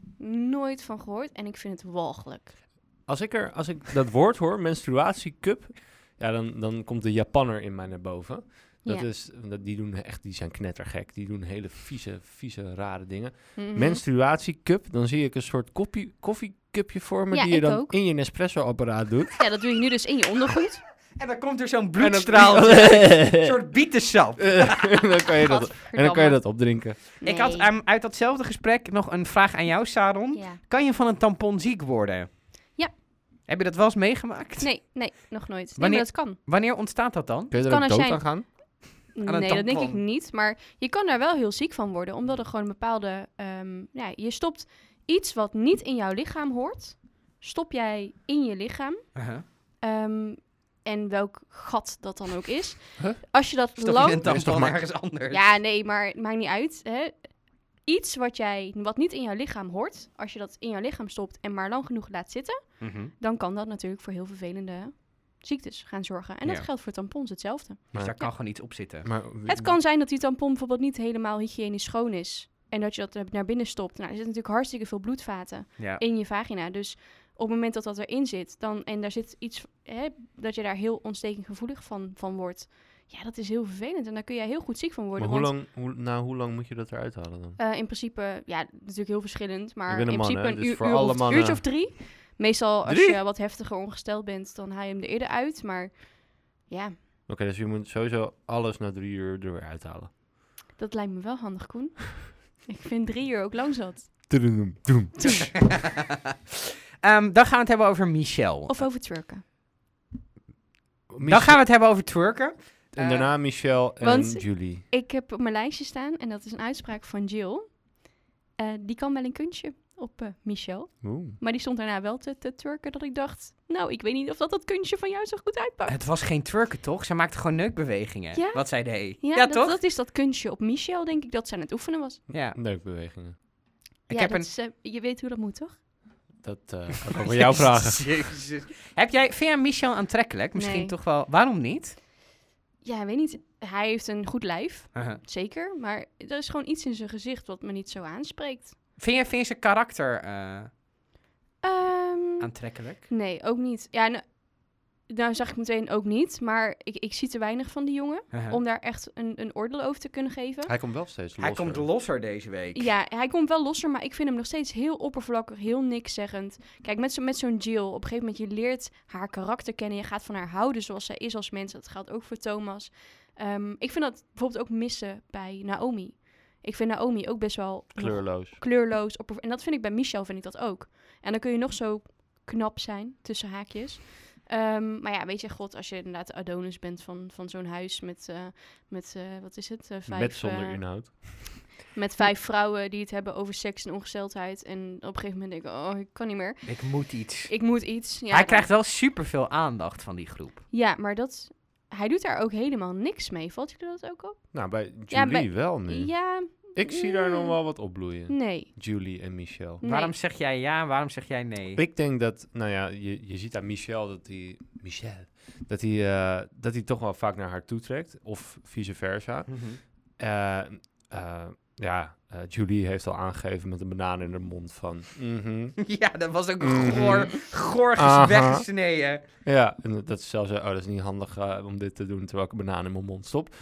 D: nooit van gehoord en ik vind het walgelijk.
C: Als ik, er, als ik dat woord hoor, menstruatiecup, ja, dan, dan komt de Japanner in mij naar boven. Dat
D: Ja.
C: is, dat, die, doen echt, die zijn knettergek. Die doen hele vieze, vieze, rare dingen.
D: Mhm.
C: Menstruatiecup, dan zie ik een soort koffie, koffiecupje voor me
D: Ja,
C: die je
D: ik
C: dan
D: ook.
C: in je Nespresso-apparaat [laughs] doet.
D: Ja, dat doe je nu dus in je ondergoed.
A: En dan komt er zo'n
C: dan-
A: bloedstraal, een soort bietensap.
C: [laughs] en, dan kan je dat, en dan kan je dat opdrinken.
A: Ik had
D: Nee.
A: ehm, uit datzelfde gesprek nog een vraag aan jou, Saron.
D: Ja.
A: Kan je van een tampon ziek worden?
D: Ja.
A: Heb je dat wel eens meegemaakt?
D: Nee, nee, nog nooit. Nee,
A: Wanneer-
D: maar dat kan.
A: Wanneer ontstaat dat dan?
C: Kun je er
D: Kan
C: ook
D: als
C: dood
D: jij-
C: aan gaan?
A: aan een
D: Nee, dat denk ik
A: tampon.
D: niet. Maar je kan daar wel heel ziek van worden, omdat er gewoon een bepaalde. ehm, ja, je stopt iets wat niet in jouw lichaam hoort, stop jij in je lichaam.
A: Uh-huh.
D: ehm, en welk gat dat dan ook is.
C: Huh?
D: Als je dat
A: Stop je een
D: lang.
C: Dat is toch
A: tampon
C: maar-
A: ergens anders?
D: Ja, nee, maar het maakt niet uit. Hè? Iets wat, jij, wat niet in jouw lichaam hoort, als je dat in jouw lichaam stopt en maar lang genoeg laat zitten,
A: Mhm.
D: dan kan dat natuurlijk voor heel vervelende ziektes gaan zorgen. En dat
A: Ja.
D: geldt voor tampons hetzelfde.
A: Dus daar
C: Maar-
A: kan gewoon iets op zitten.
C: Maar,
D: Het kan zijn dat die tampon bijvoorbeeld niet helemaal hygiënisch schoon is. En dat je dat er naar binnen stopt. Nou, er zitten natuurlijk hartstikke veel bloedvaten
A: Ja.
D: in je vagina. Dus op het moment dat dat erin zit, dan, en daar zit iets, hè, dat je daar heel ontstekinggevoelig van, van wordt. Ja, dat is heel vervelend. En daar kun je heel goed ziek van
C: Maar
D: worden.
C: hoe
D: want,
C: lang, hoe, na hoe lang moet je dat eruit halen dan?
D: eh, in principe, ja, natuurlijk heel verschillend. Maar
C: Ik ben een
D: in
C: man,
D: principe
C: hè,
D: een
C: dus
D: uur,
C: voor
D: uur
C: alle
D: of,
C: mannen-
D: uurtje of drie. Meestal als
C: Drie?
D: je wat heftiger ongesteld bent, dan haal je hem er eerder uit. Maar ja,
C: Oké, dus je moet sowieso alles na drie uur er weer uithalen.
D: dat lijkt me wel
C: [laughs]
D: handig, Koen. Ik vind drie uur ook lang zat.
C: Tudurum, tudurum.
A: Ehm, dan gaan we het hebben over Michel.
D: Of over twerken.
A: Dan
C: Michel-
A: gaan we het hebben over twerken. Eh,
C: En daarna Michel en
D: want-
C: Julie.
D: Ik heb op mijn lijstje staan, en dat is een uitspraak van Jill. Eh, die kan wel een kunstje op eh, Michel.
C: Oeh.
D: Maar die stond daarna wel te, te twerken dat ik dacht... Nou, ik weet niet of dat dat kunstje van jou zo goed uitpakt.
A: Het was geen twerken, toch? Ze maakte gewoon neukbewegingen.
D: Ja.
A: Wat zij deed.
D: ja, dat,
A: toch?
D: dat is dat kunstje op Michel, denk ik, dat ze aan het oefenen was.
A: Ja.
C: Neukbewegingen.
A: Ik
D: ja,
A: heb
D: dat
A: een...
D: is, eh, je weet hoe dat moet, toch?
C: Dat eh, [laughs] kan ik ook aan jou
D: [laughs]
A: [laughs]
C: vragen.
A: Jezus. Heb jij, vind jij Michel aantrekkelijk? Misschien
D: Nee.
A: toch wel. Waarom niet?
D: Ja, ik weet niet. Hij heeft een goed lijf, zeker. Maar er is gewoon iets in zijn gezicht wat me niet zo aanspreekt.
A: Vind, je, vind je zijn karakter eh,
D: Ehm,
A: aantrekkelijk?
D: nee, ook niet. Ja, nou, Nou zag ik meteen ook niet, maar ik, ik zie te weinig van die jongen om daar echt een, een oordeel over te kunnen geven.
C: Hij komt wel steeds los.
A: Hij komt losser deze week.
D: Ja, hij komt wel losser, maar ik vind hem nog steeds heel oppervlakkig, heel nikszeggend. Kijk, met, zo, met zo'n Jill, op een gegeven moment, je leert haar karakter kennen. Je gaat van haar houden zoals zij is als mens. Dat geldt ook voor Thomas. Ehm, ik vind dat bijvoorbeeld ook missen bij Naomi. Ik vind Naomi ook best wel nog
C: Kleurloos.
D: kleurloos. opperv- en dat vind ik bij Michel vind ik dat ook. En dan kun je nog zo knap zijn, tussen haakjes. Ehm, maar ja, weet je, god, als je inderdaad de Adonis bent van, van zo'n huis met, eh, met eh, wat is het? Eh, vijf,
C: Met zonder
D: eh,
C: inhoud.
D: met vijf vrouwen die het hebben over seks en ongesteldheid. En op een gegeven moment denk ik, oh, ik kan niet meer.
A: Ik moet iets.
D: Ik moet iets. Ja,
A: hij
D: dan-
A: krijgt wel superveel aandacht van die groep.
D: Ja, maar dat... Hij doet daar ook helemaal niks mee. Valt je dat ook op?
C: Nou, bij Julie
D: Ja, bij-
C: wel nu.
D: Ja,
C: Ik zie daar nog
D: Mm.
C: wel wat opbloeien.
D: nee.
C: Julie en Michel.
D: nee.
A: Waarom zeg jij ja en waarom zeg jij nee?
C: Ik denk dat, nou ja, je, je ziet aan Michel dat hij. Michel. Dat hij, eh, dat hij toch wel vaak naar haar toe trekt. Of vice versa.
A: Mhm.
C: Eh, eh, ja, eh, Julie heeft al aangegeven met een banaan in haar mond van. mhm.
A: [laughs] Ja, dat was ook
C: Mhm.
A: goor, gorgisch
C: Aha.
A: weggesneden.
C: Ja, en dat is zelfs, eh, oh, dat is niet handig eh, om dit te doen terwijl ik een banaan in mijn mond stop.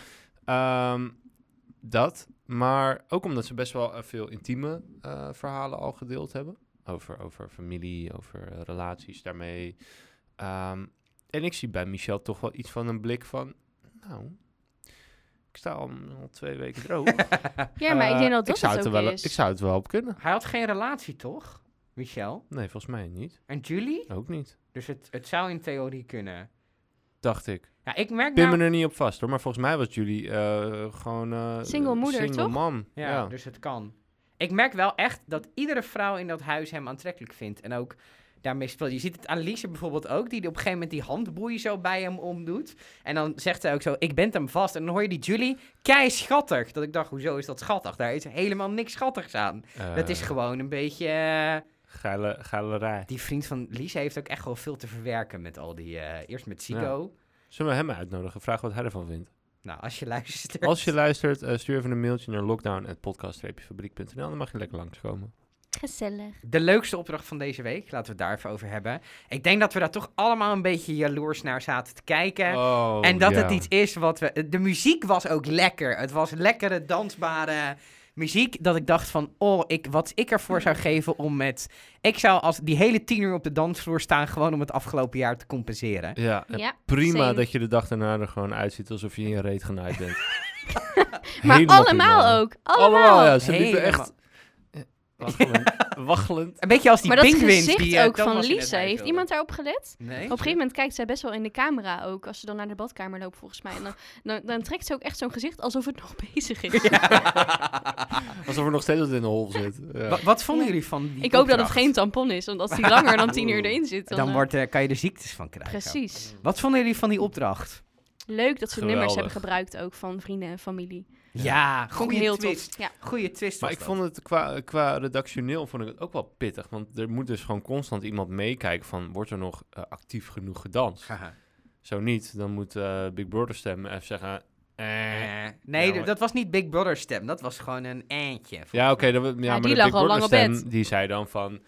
C: Ehm, dat, maar ook omdat ze best wel eh, veel intieme eh, verhalen al gedeeld hebben. Over, over familie, over eh, relaties daarmee. Ehm, en ik zie bij Michel toch wel iets van een blik van, nou, ik sta al, al twee weken droog.
D: [laughs] Ja, maar ik
C: Eh,
D: denk dat dat
C: zou
D: het
C: het
D: ook
C: er wel,
D: is.
C: Ik zou het wel op kunnen.
A: [laughs] Hij had geen relatie, toch? Michel?
C: Nee, volgens mij niet.
A: En Julie?
C: Ook niet,
A: Dus het, het zou in theorie kunnen.
C: dacht ik.
A: Ja, ik merk
C: pin
A: nou...
C: me er niet op vast hoor, maar volgens mij was jullie eh, gewoon... eh,
D: Single moeder,
C: single
D: toch?
C: mom.
A: Ja,
C: Ja,
A: dus het kan. Ik merk wel echt dat iedere vrouw in dat huis hem aantrekkelijk vindt. En ook daarmee speelt. Je ziet het aan Lise bijvoorbeeld ook, die op een gegeven moment die handboei zo bij hem omdoet. En dan zegt zij ook zo, ik ben hem vast. En dan hoor je die Julie, kei schattig. Dat ik dacht, hoezo is dat schattig? Daar is helemaal niks schattigs aan. dat is
C: Eh,
A: gewoon een beetje... eh,
C: geile, geilerij.
A: Die vriend van Lise heeft ook echt wel veel te verwerken met al die... eh, eerst met Sigo.
C: Zullen we hem uitnodigen? Vraag wat hij ervan vindt.
A: Nou, als je luistert...
C: Als je luistert, eh, stuur even een mailtje naar lockdown.podcast-fabriek.nl. Dan mag je lekker langskomen.
F: Gezellig.
A: De leukste opdracht van deze week, laten we het daar even over hebben. Ik denk dat we daar toch allemaal een beetje jaloers naar zaten te kijken.
C: Oh,
A: en dat
C: ja.
A: het iets is wat we... De muziek was ook lekker. Het was lekkere, dansbare muziek. Dat ik dacht van, oh, ik, wat ik ervoor zou geven om met... Ik zou als die hele tien uur op de dansvloer staan... gewoon om het afgelopen jaar te compenseren.
C: Ja, en
F: Ja,
C: prima
F: same.
C: dat je de dag daarna er gewoon uitziet alsof je in je reet genaaid
D: [laughs]
C: bent.
D: Maar
C: Helemaal
D: allemaal
C: prima.
D: ook. Allemaal.
C: ja. Ze liepen
A: Helemaal.
C: echt... eh, [laughs] Waggelend. waggelend.
A: Een beetje als die
D: Maar dat
A: pinguïns
D: gezicht
A: die... eh,
D: ook van
A: Thomas in het
D: Lisa.
A: huis
D: Heeft
A: wilde.
D: iemand daarop gelet?
A: Nee?
D: Op een gegeven moment kijkt zij best wel in de camera ook. Als ze dan naar de badkamer loopt, volgens mij. En dan, dan, dan trekt ze ook echt zo'n gezicht alsof het nog [laughs] bezig is.
C: Alsof er nog steeds wat in de hol zit. Ja.
A: Wa- wat vonden
D: Ja.
A: jullie van die
D: Ik hoop dat het
A: opdracht?
D: geen tampon is, want als die langer dan tien uur erin zit, dan...
A: Dan
D: eh,
A: wordt, eh, kan je er ziektes van krijgen.
D: Precies.
A: Wat vonden jullie van die opdracht?
D: Leuk dat ze nummers
C: Geweldig.
D: hebben gebruikt ook van vrienden en familie.
A: Ja,
C: Ja.
A: goede
D: Heel
A: twist.
D: tof. Ja.
A: Goede twist
C: Maar
A: was
C: ik vond het qua, qua redactioneel vond ik het ook wel pittig. Want er moet dus gewoon constant iemand meekijken van... wordt er nog eh, actief genoeg gedanst?
A: dat.
C: Zo niet, dan moet eh, Big Brother stemmen even zeggen... eh.
A: Eh, nee,
C: Ja, maar-
A: dat was niet Big Brother stem. Dat was gewoon een eindje.
C: Ja, oké, dat we- ja, maar
D: die
C: de
D: lag
C: Big
D: al lang
C: Brother
D: op
C: stem,
D: bed.
C: die zei dan van...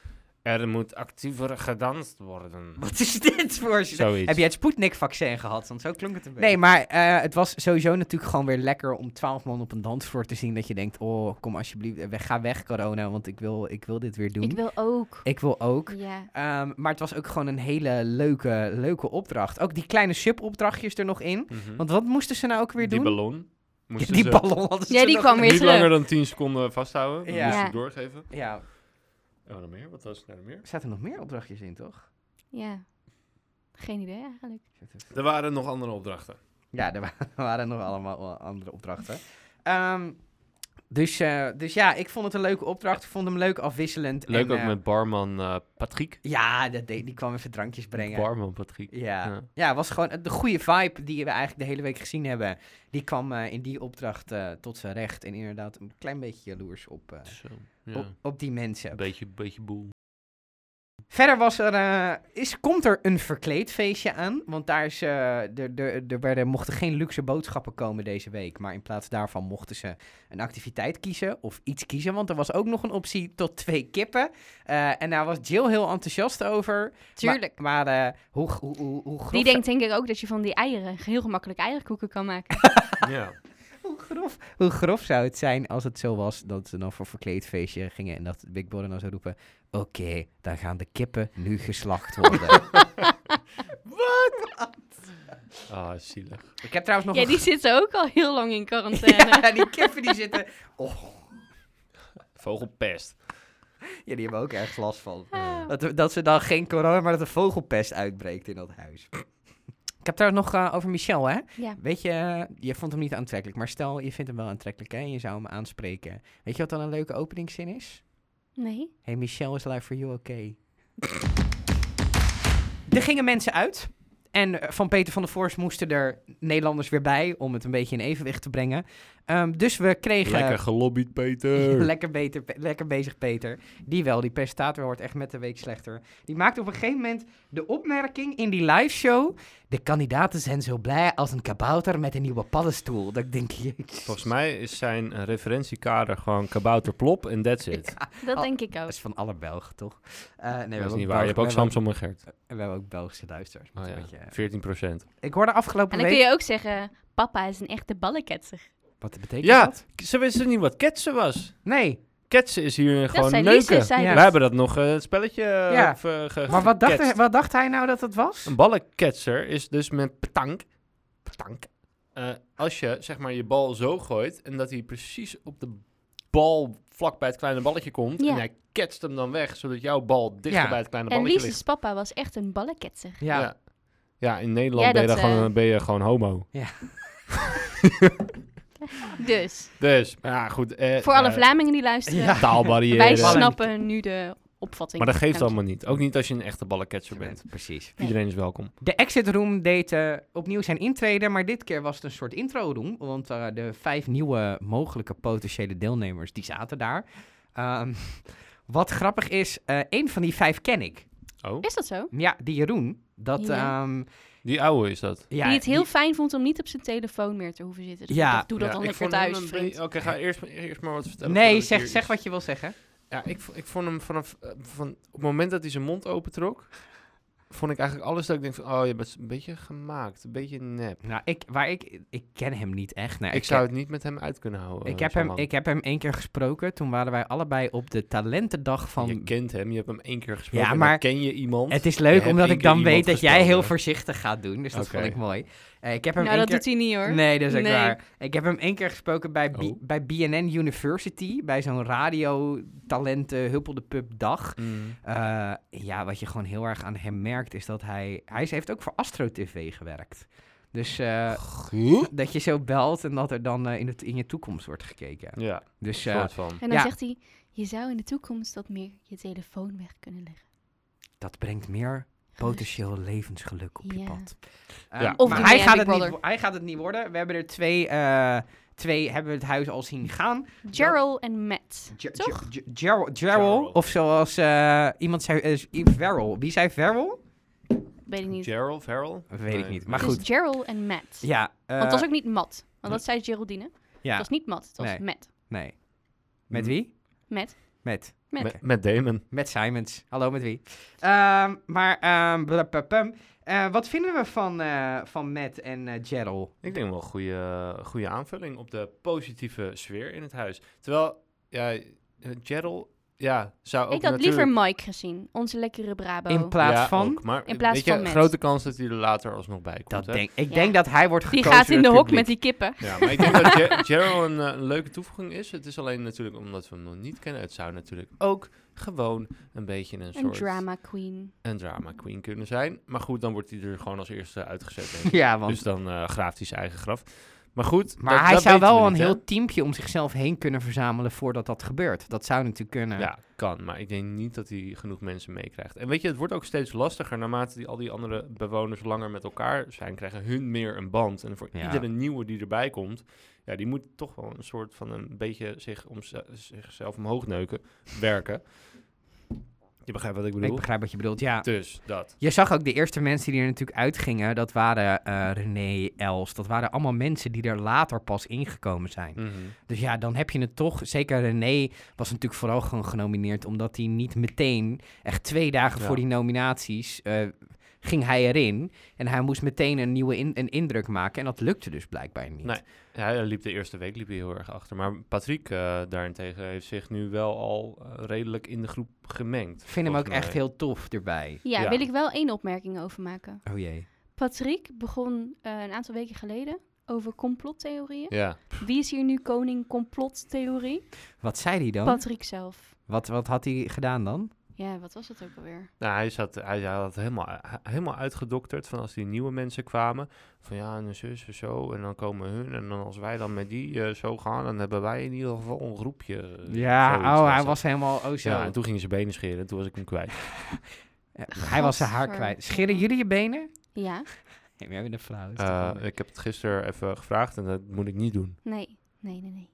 C: er moet actiever gedanst worden.
A: Wat is dit voor...
C: Zoiets.
A: Heb jij het Sputnik-vaccin gehad? Want zo klonk het een beetje. Nee, maar eh, het was sowieso natuurlijk gewoon weer lekker om twaalf man op een dansvloer te zien. Dat je denkt, oh, kom alsjeblieft, eh, weg, ga weg corona, want ik wil, ik wil dit weer doen.
F: Ik wil ook.
A: ik wil ook.
F: Ja.
A: Ehm, maar het was ook gewoon een hele leuke, leuke opdracht. Ook die kleine subopdrachtjes er nog in.
C: Mhm.
A: Want wat moesten ze nou ook weer
C: die
A: doen?
C: ballon
A: Ja,
C: moesten
A: die
C: ze
A: ballon hadden ze
D: Ja, die
A: nog-
D: kwam weer
C: niet langer
D: terug.
C: dan 10 seconden vasthouden.
A: Ja.
C: Ja. Moest
F: Ja.
C: je doorgeven.
A: Ja,
C: En wat nog meer? Wat was er nou meer?
A: er zaten nog meer opdrachtjes in, toch?
F: Ja. Geen idee eigenlijk.
C: Er waren nog andere opdrachten.
A: Ja, er wa- [laughs] waren nog allemaal wel andere opdrachten. Ehm, dus, eh, dus ja, ik vond het een leuke opdracht. Ik vond hem leuk afwisselend.
C: Leuk
A: en,
C: ook
A: eh,
C: met barman eh, Patrick.
A: Ja, dat deed- die kwam even drankjes brengen.
C: Barman Patrick.
A: Ja.
C: Ja.
A: ja, het was gewoon eh, de goede vibe die we eigenlijk de hele week gezien hebben. Die kwam eh, in die opdracht eh, tot zijn recht. En inderdaad een klein beetje jaloers op, eh,
C: Zo, ja.
A: op, op die mensen. [laughs]
C: Beetje, beetje boel.
A: Verder was er, eh, is, komt er een verkleedfeestje aan. Want daar is, eh, er, er, er werden, mochten geen luxe boodschappen komen deze week. Maar in plaats daarvan mochten ze een activiteit kiezen of iets kiezen. Want er was ook nog een optie tot twee kippen. Eh, en daar was Jill heel enthousiast over.
F: Tuurlijk.
A: Maar, maar eh, hoe, hoe, hoe, hoe grof
F: Die
A: ze-
F: denkt denk ik ook dat je van die eieren heel gemakkelijk eierkoeken kan maken.
C: ja.
A: [laughs] Hoe grof, hoe grof zou het zijn als het zo was dat ze dan voor verkleedfeestje gingen en dat Big Brother dan zou roepen: Oké, dan gaan de kippen nu
F: [laughs]
A: geslacht worden.
C: Ah, zielig.
A: Ik heb trouwens nog
F: Ja,
A: een
F: die zitten ook al heel lang in
A: [laughs]
F: quarantaine.
A: Ja, die eh, kippen die zitten. Oh,
C: Vogelpest.
A: ja, die hebben ook erg last van. Dat, we- dat ze dan geen corona, maar dat de vogelpest uitbreekt in dat huis. Ik heb trouwens nog eh, over Michel, hè?
F: Ja.
A: Weet je, eh, je vond hem niet aantrekkelijk, maar stel je vindt hem wel aantrekkelijk hè, en je zou hem aanspreken. Weet je wat dan een leuke openingszin is?
F: Nee.
A: Hey, Michelle is live for you, oké. Er gingen mensen uit. En eh, van Peter van der Voors moesten er Nederlanders weer bij om het een beetje in evenwicht te brengen. Ehm, dus we kregen...
C: Lekker gelobbyd,
A: [laughs]
C: Peter.
A: Lekker, beter, Pe- lekker bezig, Peter. Die wel, die presentator wordt echt met de week slechter. Die maakt op een gegeven moment de opmerking in die liveshow... De kandidaten zijn zo blij als een kabouter met een nieuwe paddenstoel. Dat ik denk, [laughs] jezus.
C: Volgens mij is zijn eh, referentiekader gewoon kabouterplop en that's it.
F: Dat
A: Al-
F: denk ik ook.
A: Dat is van alle Belgen, toch? Eh, nee, we hebben
C: dat is
A: ook
C: niet waar. Je hebt ook
A: Belgen- we hebben
C: Samson en Gert.
A: ook- We hebben ook Belgische luisteraars.
C: Oh,
A: moeten we
C: ja.
A: wat je- eh,
C: 14 procent.
A: Ik hoorde
F: En
A: afgelopen
F: dan kun
A: week...
F: je ook zeggen, papa is een echte ballenketser.
A: Wat betekent
C: Ja,
A: dat?
C: k- ze wisten niet wat ketsen was.
A: Nee,
C: Ketsen is hier gewoon
F: zei Lise,
C: neuken.
F: zei
A: Ja.
C: We hebben dat nog eh, het spelletje eh,
A: Ja.
C: of, eh, ge-
A: maar wat dacht,
C: geketst.
A: hij, wat dacht hij nou dat het was?
C: Een ballenketser is dus met petank. Petank. eh, als je zeg maar je bal zo gooit en dat hij precies op de bal vlak bij het kleine balletje komt
F: Ja.
C: en hij ketst hem dan weg zodat jouw bal dichter
A: Ja.
C: bij het kleine
F: En
C: balletje ligt.
F: Lies's papa was echt een ballenketser.
A: Ja,
C: ja. Ja, in Nederland
F: Ja,
C: ben, je
F: dat,
C: dan gewoon,
F: eh,
C: ben je gewoon homo.
F: Dus,
C: Dus, maar ja, goed. eh,
F: voor alle
C: eh,
F: Vlamingen die luisteren,
C: Taalbarrière.
F: wij
A: ballen-
F: snappen nu de opvatting.
C: eh, Maar dat geeft
F: Dank je.
C: allemaal niet. Ook niet als je een echte ballenketser
A: je bent-
C: bent.
A: precies.
F: Nee.
C: Iedereen is welkom.
A: De Exit Room deed eh, opnieuw zijn intrede, maar dit keer was het een soort intro room. Want eh, de vijf nieuwe mogelijke potentiële deelnemers, die zaten daar. Ehm, [laughs] wat grappig is, eh een van die vijf ken ik.
C: Oh?
F: Is dat zo?
A: Ja, die Jeroen. Dat,
F: Ja.
A: ehm,
C: Die oude is dat.
A: ja,
F: die het heel fijn vond om niet op zijn telefoon meer te hoeven zitten. Dus
A: Ja.
F: ik dacht, doe dat
C: Ja,
F: dan
C: ik
F: lekker
C: vond hem
F: thuis,
C: een
F: vriend.
C: beetje- Oké, ga eerst, eerst maar wat vertellen.
A: Nee,
C: voordat ik
A: zeg,
C: hier
A: zeg
C: iets-
A: wat je wil zeggen.
C: Ja, ik, vo- ik vond hem vanaf eh, van, op het moment dat hij zijn mond opentrok, vond ik eigenlijk alles dat ik denk van, oh, je bent een beetje gemaakt, een beetje nep.
A: Nou, ik, waar ik, ik ken hem niet echt. Nee,
C: ik zou het niet met hem uit kunnen houden.
A: ik, heb
C: zo
A: hem,
C: lang.
A: ik heb hem één keer gesproken. Toen waren wij allebei op de talentendag van
C: Je kent hem, je hebt hem één keer gesproken.
A: Ja,
C: en
A: maar-
C: dan ken je iemand.
A: Het is
C: Je
A: leuk
C: hebt
A: omdat
C: één
A: ik
C: keer
A: dan weet
C: iemand
A: dat jij heel
C: gesproken.
A: voorzichtig gaat doen. Dus dat
C: Oké.
A: vond ik mooi. Eh, ik heb hem
F: Nou,
A: één
F: dat
A: keer...
F: doet hij niet hoor.
A: Nee, dat is ook
F: Nee.
A: waar. Ik heb hem één keer gesproken bij, B-
C: Oh.
A: bij BNN University. Bij zo'n radiotalenten Huppel de Pub dag.
C: Mm.
A: Eh, ja, wat je gewoon heel erg aan hem merkt is dat hij... Hij is- heeft ook voor Astro TV gewerkt. Dus eh, dat je zo belt en dat er dan eh, in, het, in je toekomst wordt gekeken.
C: Ja,
A: Dus eh,
C: soort van.
F: En dan
A: Ja.
F: zegt hij, je zou in de toekomst wat meer je telefoon weg kunnen leggen.
A: dat brengt meer potentieel levensgeluk op je
F: Ja.
A: pad.
C: Ja.
A: Ehm,
F: Of
A: maar
F: doe
A: hij
F: mee
A: gaat,
F: aan Big
A: het niet,
F: Brother.
A: wo- hij gaat het niet worden. We hebben er twee, eh, twee hebben we het huis al zien gaan.
F: Gerald en Matt.
A: Ger-
F: Toch?
A: Ger- Ger- Gerald, Gerald,
C: Gerald.
A: of zoals eh, iemand zei, eh, is- Verrel. Wie zei Verrel?
F: Weet ik niet.
C: Gerald, Farrell?
A: Dat weet ik
C: Nee.
A: niet, maar
F: Dus
A: goed.
F: Gerald en Matt.
A: Ja, eh,
F: Want dat was ook niet Matt. Want dat zei Geraldine.
A: ja,
F: Het was niet Matt, het was
A: Nee.
F: Matt.
A: nee. Met
C: Hm.
A: wie?
F: Met.
A: Met.
F: Met.
A: Oké.
C: Met, met Damon.
A: Met Simons. Hallo, met wie? Ehm, maar, ehm, blapapam. Eh, wat vinden we van, eh, van Matt en eh, Gerald?
C: Ik denk wel een goede, goede aanvulling op de positieve sfeer in het huis. Terwijl, ja, eh, Gerald, ja, zou ook
F: ik had
C: natuurlijk...
F: liever Mike gezien, onze lekkere Brabo.
A: In plaats
C: Ja,
A: van?
C: ook, maar
F: In plaats
C: weet je,
F: van met.
C: grote kans dat hij er later alsnog bij komt.
A: Dat
C: hè?
A: denk, ik
F: Ja.
A: denk dat hij wordt
F: die
A: gekozen
F: gaat in de
A: door het
F: hok
A: publiek.
F: met die kippen.
C: Ja, maar ik denk dat Ger- Gerald een, eh, een leuke toevoeging is. Het is alleen natuurlijk omdat we hem nog niet kennen. Het zou natuurlijk ook gewoon een beetje een,
F: Een
C: soort
F: drama queen.
C: een drama queen kunnen zijn. Maar goed, dan wordt hij er gewoon als eerste uitgezet. denk ik.
A: [laughs] Ja, want
C: Dus dan eh, graaft hij zijn eigen graf. Maar goed,
A: Maar
C: dat-
A: hij
C: dat
A: zou
C: weten we
A: wel een
C: niet, hè?
A: heel teampje om zichzelf heen kunnen verzamelen voordat dat gebeurt. Dat zou natuurlijk kunnen.
C: Ja, kan. Maar ik denk niet dat hij genoeg mensen meekrijgt. En weet je, het wordt ook steeds lastiger naarmate die, al die andere bewoners langer met elkaar zijn, krijgen hun meer een band. En voor
A: Ja.
C: iedere nieuwe die erbij komt, ja, die moet toch wel een soort [laughs] van een beetje zich om z- zichzelf omhoog neuken, werken. Je begrijpt wat ik
A: Ik
C: bedoel?
A: begrijp wat je bedoelt, ja.
C: Dus dat.
A: Je zag ook de eerste mensen die er natuurlijk uitgingen, dat waren eh, René, Els. Dat waren allemaal mensen die er later pas ingekomen zijn.
C: Mhm.
A: Dus ja, dan heb je het toch. Zeker René was natuurlijk vooral gewoon genomineerd, omdat hij niet meteen, echt twee dagen
C: Ja.
A: voor die nominaties, eh, ging hij erin. En hij moest meteen een nieuwe in- een indruk maken. En dat lukte dus blijkbaar niet.
C: Nee. Ja, hij liep de eerste week liep hij heel erg achter. Maar Patrick eh, daarentegen heeft zich nu wel al eh, redelijk in de groep gemengd.
A: Ik vind hem ook
C: volgens
A: echt
C: mij.
A: heel tof erbij.
D: Ja,
C: Ja.
D: wil ik wel één opmerking over maken.
A: Oh jee.
D: Patrick begon eh, een aantal weken geleden over complottheorieën.
C: Ja,
D: Wie is hier nu koning complottheorie?
A: Wat zei hij dan?
D: Patrick zelf.
A: Wat, wat had hij gedaan dan?
D: Ja, wat was dat ook alweer?
C: nou, hij, zat, hij hij had helemaal, hij- helemaal uitgedokterd van als die nieuwe mensen kwamen. Van ja, en zus en zo. En dan komen hun. En dan als wij dan met die eh, zo gaan, dan hebben wij in ieder geval een groepje. eh,
A: Ja,
C: zoiets
A: oh, hij
C: het.
A: was helemaal oh zo.
C: Ja, en toen gingen ze benen scheren en toen was ik hem kwijt.
A: Ja, Eh, hij was zijn haar
D: Gadver-
A: kwijt. Scheren jullie je benen?
D: Ja,
A: Nee, we hebben een flauw. is
C: Eh,
A: toch wel-
C: ik heb het gisteren even gevraagd en dat moet ik niet doen.
D: nee, nee, nee, nee.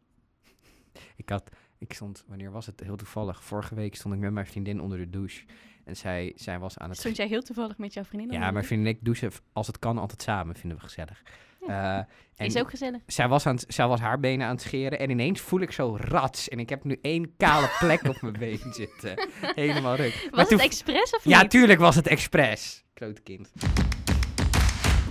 A: Ik had, ik stond, wanneer was het? Heel toevallig. Vorige week stond ik met mijn vriendin onder de douche. En zij, zij was aan het...
D: Stond jij heel toevallig met jouw vriendin?
A: ja,
D: onder
A: mijn
D: de
A: vriendin en ik douchen v- als het kan altijd samen. Vinden we gezellig. Eh, en
D: douche? Is ook gezellig.
A: zij, was aan het- zij was haar benen aan het scheren. En ineens voel ik zo rats. En ik heb nu één kale plek op mijn been
D: [laughs]
A: zitten. Helemaal ruk. Maar
D: Was
A: toen-
D: het expres of
A: Ja,
D: niet?
A: tuurlijk was het expres. Klote kind.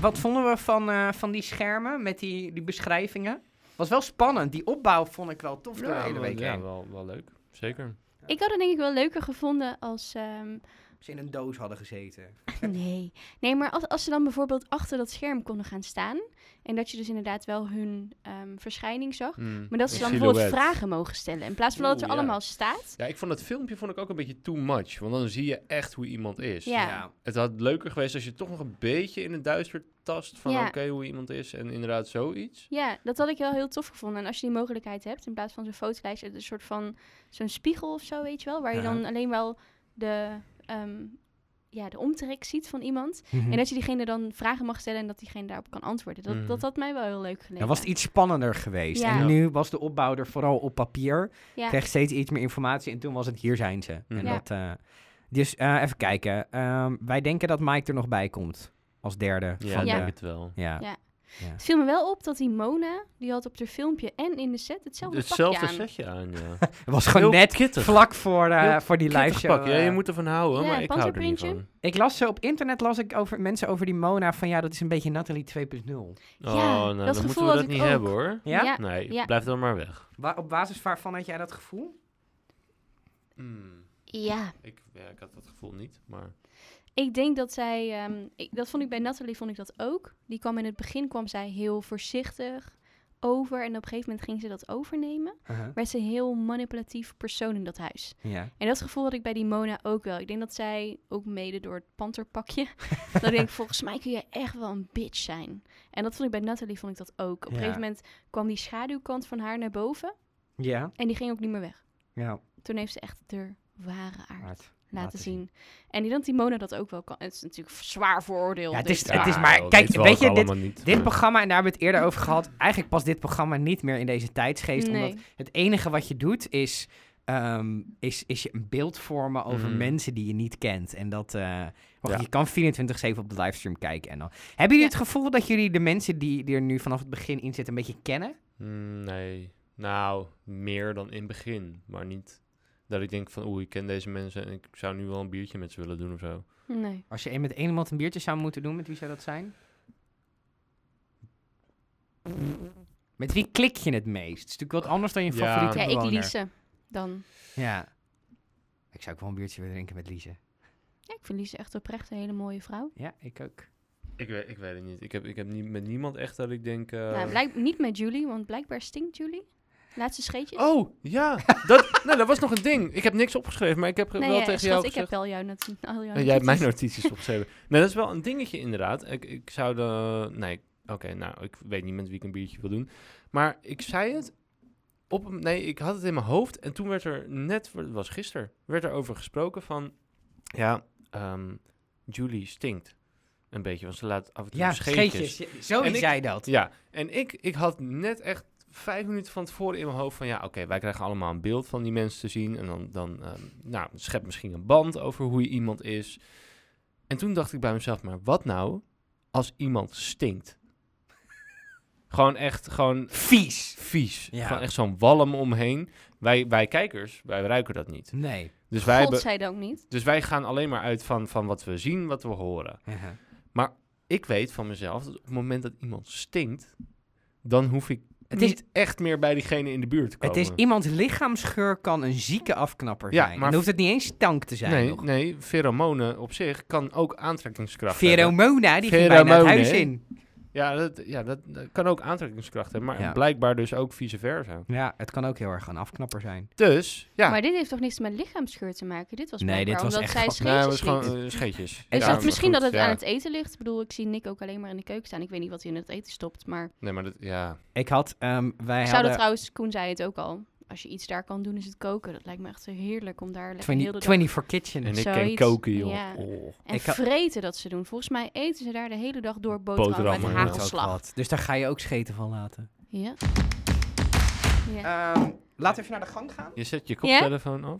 A: Wat vonden we van, eh, van die schermen met die, die beschrijvingen? Was wel spannend. Die opbouw vond ik wel tof door de hele
C: wel-
A: week
C: ja
A: heen.
C: wel, wel leuk. Zeker.
D: Ik had het denk ik wel leuker gevonden als... ehm, [laughs]
A: Als ze in een doos hadden gezeten.
D: Nee. Nee, maar als, als ze dan bijvoorbeeld achter dat scherm konden gaan staan. En dat je dus inderdaad wel hun ehm, verschijning zag.
C: Mm.
D: Maar dat ze
C: Een
D: dan bijvoorbeeld
C: silhouet.
D: vragen mogen stellen. In plaats van dat het er
C: Oeh, ja.
D: allemaal staat.
C: Ja, ik vond het filmpje vond ik ook een beetje too much. Want dan zie je echt hoe iemand is.
D: Ja.
C: Het had leuker geweest als je toch nog een beetje in het duister tast van
D: Ja.
C: oké hoe iemand is en inderdaad zoiets.
D: Ja, dat had ik wel heel tof gevonden. En als je die mogelijkheid hebt, in plaats van zo'n fotolijst, een soort van zo'n spiegel of zo, weet je wel. Waar je
A: Ja.
D: dan alleen wel de, ehm, ja, de omtrek ziet van iemand.
A: Hm.
D: En dat je diegene dan vragen mag stellen en dat diegene daarop kan antwoorden. Dat,
C: Mhm.
D: dat had mij wel heel leuk geleken.
A: Dan was het iets spannender geweest.
D: Ja.
A: En nu was de opbouw er vooral op papier.
D: Ja.
A: Kreeg steeds iets meer informatie. En toen was het hier zijn ze. En
C: Ja.
A: dat, eh, dus eh, even kijken. Ehm, wij denken dat Mike er nog bij komt. Als derde.
C: Ja,
A: van
C: ik
A: de-
C: denk het wel.
A: ja.
D: Ja.
A: Ja.
D: Het viel me wel op dat die Mona, die had op haar filmpje en in de set hetzelfde,
C: Hetzelfde
D: pakje aan.
C: setje aan, ja.
A: Het was gewoon
C: Heel
A: net
C: kittig.
A: vlak voor, eh,
C: Heel
A: voor die eh.
C: Kittig
A: live
C: pak,
A: show.
C: ja, je moet ervan houden,
D: Ja,
C: maar ik hou er niet
D: panzerprintje.
C: van.
A: Ik las ze op internet las ik over mensen over die Mona van ja, dat is een beetje Natalie 2.0.
C: Oh,
D: Ja,
C: nou,
D: dat
C: dan moeten
D: gevoel
C: we
D: had
C: dat
D: ik
C: niet
D: ook.
C: hebben hoor.
A: Ja?
D: Ja,
C: Nee,
D: Ja.
C: blijf dan maar weg.
A: Wa- op basis waarvan had jij dat gevoel?
D: ja.
C: Hmm, ik, ja, ik had dat gevoel niet, maar...
D: Ik denk dat zij, ehm, ik, dat vond ik bij Nathalie vond ik dat ook. Die kwam in het begin kwam zij heel voorzichtig over en op een gegeven moment ging ze dat overnemen.
C: Uh-huh.
D: Werd ze een heel manipulatief persoon in dat huis.
A: Ja.
D: En dat gevoel had ik bij die Mona ook wel. Ik denk dat zij ook mede door het panterpakje. [laughs] dat ik denk volgens mij kun je echt wel een bitch zijn. En dat vond ik bij Nathalie vond ik dat ook. Op een
A: Ja.
D: gegeven moment kwam die schaduwkant van haar naar boven
A: Ja.
D: en die ging ook niet meer weg.
A: Ja.
D: Toen heeft ze echt de ware aard
A: Hard.
D: laten,
A: laten zien.
D: zien. En die dan die Mona dat ook wel kan. Het is natuurlijk zwaar vooroordeel.
A: Ja, het
D: dus
A: is-
D: daar-
A: het is maar- kijk,
C: dit
A: weet je,
C: wou ik allemaal niet.
A: Dit programma, en daar hebben we het eerder over gehad, eigenlijk past dit programma niet meer in deze tijdsgeest. Omdat
D: nee.
A: het enige wat je doet is, ehm, is, is je een beeld vormen over
C: Mm.
A: mensen die je niet kent. En dat, eh, maar goed,
C: Ja.
A: je kan 24-7 op de livestream kijken. En dan. Hebben jullie het gevoel dat jullie de mensen die, die er nu vanaf het begin in zitten een beetje kennen?
C: Mm, Nee, nou, meer dan in het begin, maar niet... Dat ik denk van, oeh, ik ken deze mensen en ik zou nu wel een biertje met ze willen doen of zo.
D: nee.
A: Als je een- met één iemand een biertje zou moeten doen, met wie zou dat zijn? Met wie klik je het meest? Het is natuurlijk wat anders dan je
C: Ja.
A: favoriete
D: Ja, ik
A: bewoner.
D: Lise dan.
A: Ja. Ik zou ook wel een biertje willen drinken met Lise.
D: Ja, ik vind Lise echt oprecht een hele mooie vrouw.
A: Ja, ik ook.
C: Ik weet, ik weet het niet. Ik heb, ik heb niet, met niemand echt dat ik denk... eh,
D: nou, blijk, niet met Julie, want blijkbaar stinkt Julie. Laatste scheetjes.
C: Oh, ja. Dat, [laughs] nou, dat was nog een ding. Ik heb niks opgeschreven, maar ik heb
D: nee,
C: wel
D: eh,
C: tegen
D: schat,
C: jou
D: ik
C: gezegd...
D: heb wel jou net. Al jouw
C: Nee, jij hebt mijn
D: notities. [laughs]
C: notities opgeschreven. Nee, dat is wel een dingetje inderdaad. Ik, ik zou de... Nee, oké, nou, ik weet niet met wie ik een biertje wil doen. Maar ik zei het... Op, een- nee, ik had het in mijn hoofd en toen werd er net... Het was gisteren. Werd er over gesproken van... Ja, ehm, Julie stinkt een beetje, want ze laat af en toe
A: Ja,
C: scheetjes.
A: scheetjes. Ja, Zo
C: En ik-
A: zei dat.
C: Ja, en ik, ik had net echt vijf minuten van tevoren in mijn hoofd van ja, oké, wij krijgen allemaal een beeld van die mensen te zien. En dan, dan ehm, nou, schep misschien een band over hoe je iemand is. En toen dacht ik bij mezelf, maar wat nou als iemand stinkt? gewoon echt, gewoon
A: Vies!
C: vies.
A: Ja.
C: Gewoon echt zo'n walm omheen. Wij, wij kijkers, wij ruiken dat niet.
A: Nee.
C: Dus wij, hebben,
D: Godzijdank niet.
C: dus wij gaan alleen maar uit van, van wat we zien, wat we horen. Ik weet van mezelf dat op het moment dat iemand stinkt, dan hoef ik
A: Het is-
C: niet echt meer bij diegene in de buurt te
A: Het
C: komen.
A: is iemands lichaamsgeur kan een zieke afknapper
C: Ja,
A: zijn.
C: maar-
A: Dan hoeft het niet eens stank te zijn.
C: Nee,
A: nog.
C: nee, pheromonen op zich kan ook aantrekkingskracht hebben.
A: Veromona, die ging bijna het
C: Pheromonen,
A: huis
C: hè?
A: in.
C: Ja, dat, ja dat, dat kan ook aantrekkingskracht hebben, maar
A: Ja.
C: blijkbaar dus ook vice versa.
A: Ja, het kan ook heel erg een afknapper zijn.
C: Dus, ja.
D: Maar dit heeft toch niks met lichaamsgeur te maken? Dit was
A: Nee,
D: blijkbaar
A: dit was
D: omdat
A: echt
D: zij
A: gewoon-
C: Nee, maar het
D: scheetjes
C: is
D: liet.
C: gewoon eh, scheetjes.
D: Is
C: Ja,
D: dat
C: maar
D: misschien
C: goed,
D: dat het
C: ja.
D: aan het eten ligt? Ik bedoel, ik zie Nick ook alleen maar in de keuken staan. Ik weet niet wat hij in het eten stopt. Maar
C: Nee, maar dat, ja.
A: Ik had, ehm, wij
D: ik zou dat
A: hadden
D: trouwens, Koen zei het ook al. Als je iets daar kan doen, is het koken. Dat lijkt me echt heerlijk om daar lekker heel de
A: 20,
D: dag...
A: 24 Kitchen.
C: En ik ken
D: Zoiets,
C: koken, joh.
D: ja.
C: Oh.
D: En
A: ik ha-
D: vreten dat ze doen. Volgens mij eten ze daar de hele dag door boterhammen,
C: Boterhammen,
D: met
C: ja.
D: hagelslag.
A: Dus daar ga je ook scheten van laten.
D: Ja. Ja.
A: Ehm, laten we even naar de gang gaan.
C: Je zet je koptelefoon af.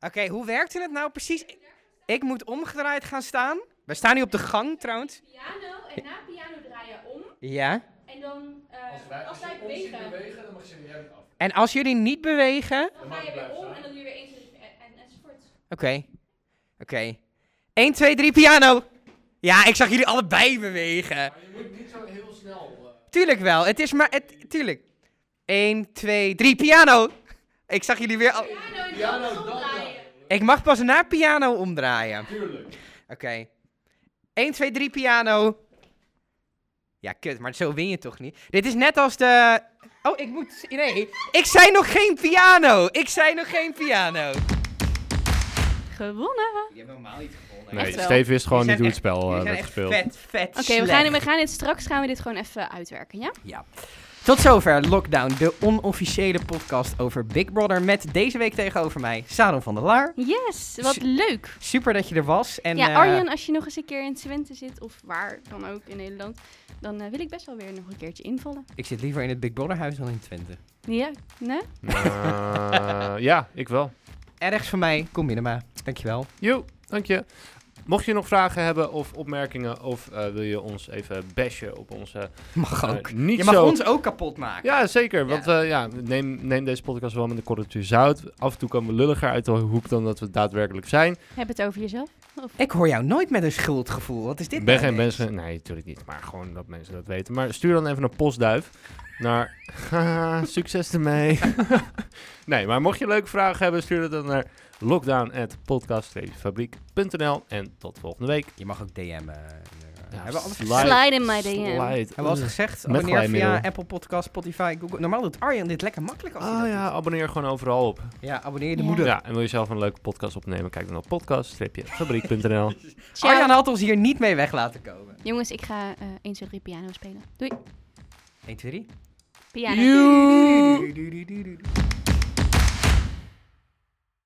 A: Oké, hoe werkte het nou precies? Ik, ik moet omgedraaid gaan staan. We staan nu op de gang trouwens.
D: Piano en na piano draai je om.
A: Ja.
D: En dan, eh,
C: dan mag je weer af.
A: En als jullie niet bewegen,
D: dan ga je weer om en dan doe je weer eens enzovoort.
A: Oké. Oké. 1, 2, 3, piano. Ja, ik zag jullie allebei bewegen.
C: Je moet niet zo heel snel. eh.
A: Tuurlijk wel. Het is maar... Het, tuurlijk. 1, 2, 3, piano. Ik zag jullie weer... Al...
C: Piano, dan.
A: Ik mag pas na piano omdraaien.
C: Tuurlijk.
A: Oké. 1, 2, 3, piano. Ja, kut. Maar zo win je toch niet? Dit is net als de... Oh, ik moet... Nee. Ik zei nog geen piano. Ik zei nog geen piano.
D: Gewonnen.
A: Je hebt helemaal niet gewonnen.
C: Nee,
D: Echt wel.
C: Steve wist gewoon
A: Jullie
C: niet
A: zijn
C: hoe het
A: Jullie
C: spel eh,
A: zijn
C: werd
A: echt
C: gespeeld.
A: vet, vet
D: Oké, we,
A: slecht.
D: gaan, we gaan dit straks gaan we dit gewoon even uitwerken, ja?
A: Ja. Tot zover Lockdown, de onofficiële podcast over Big Brother. Met deze week tegenover mij Saron van der Laar.
D: Yes,
A: wat
D: wat leuk.
A: Super dat je er was. En,
D: ja,
A: eh,
D: Arjen, als je nog eens een keer in Twente zit, of waar dan ook in Nederland, dan eh, wil ik best wel weer nog een keertje invallen.
A: ik zit liever in het Big Brother huis dan in Twente.
D: Ja, nee?
C: Eh, ja, ik wel.
A: Ergens van mij, kom binnen maar. Dankjewel.
C: Jo, dank je. Mocht je nog vragen hebben of opmerkingen, of eh, wil je ons even bashen op onze.
A: Mag
C: eh,
A: ook.
C: niet
A: je mag
C: zo...
A: ons ook kapot maken.
C: Ja, zeker. Want eh, ja, neem, neem deze podcast wel met een korreltje zout. Af en toe komen we lulliger uit de hoek dan dat we daadwerkelijk zijn.
D: Heb het over jezelf?
A: Ik hoor jou nooit met een schuldgevoel. Wat is dit
C: Ik ben
A: nou
C: geen
A: ineens?
C: mensen. Nee, natuurlijk niet. Maar gewoon dat mensen dat weten. Maar stuur dan even een postduif naar. [laughs] Haha, Succes
A: [laughs]
C: ermee. nee, maar mocht je leuke vragen hebben, stuur dat dan naar lockdown.podcast-fabriek.nl. En tot volgende week.
A: Je mag ook DM'en. hebben we alles
C: slide-
A: gezegd?
D: Slide in my DM.
C: slide.
A: Hebben we alles gezegd?
C: Met
A: Abonneer via
C: glijmiddel.
A: Apple Podcast, Spotify, Google. Normaal doet Arjen dit lekker makkelijk als hij
C: Ah
A: dat
C: ja,
A: doet.
C: abonneer gewoon overal op.
A: Ja, abonneer de
D: Ja.
A: moeder.
C: Ja, en wil je zelf een leuke podcast opnemen? Kijk dan op podcast-fabriek.nl.
D: Ciao.
A: Arjan had ons hier niet mee weg laten komen.
D: Jongens, ik ga eh 1, 2, 3 piano spelen. Doei.
A: 1, 2, 3.
D: Piano.
A: [laughs]
C: Mm.
A: Doei, doei, doei, doei, doei.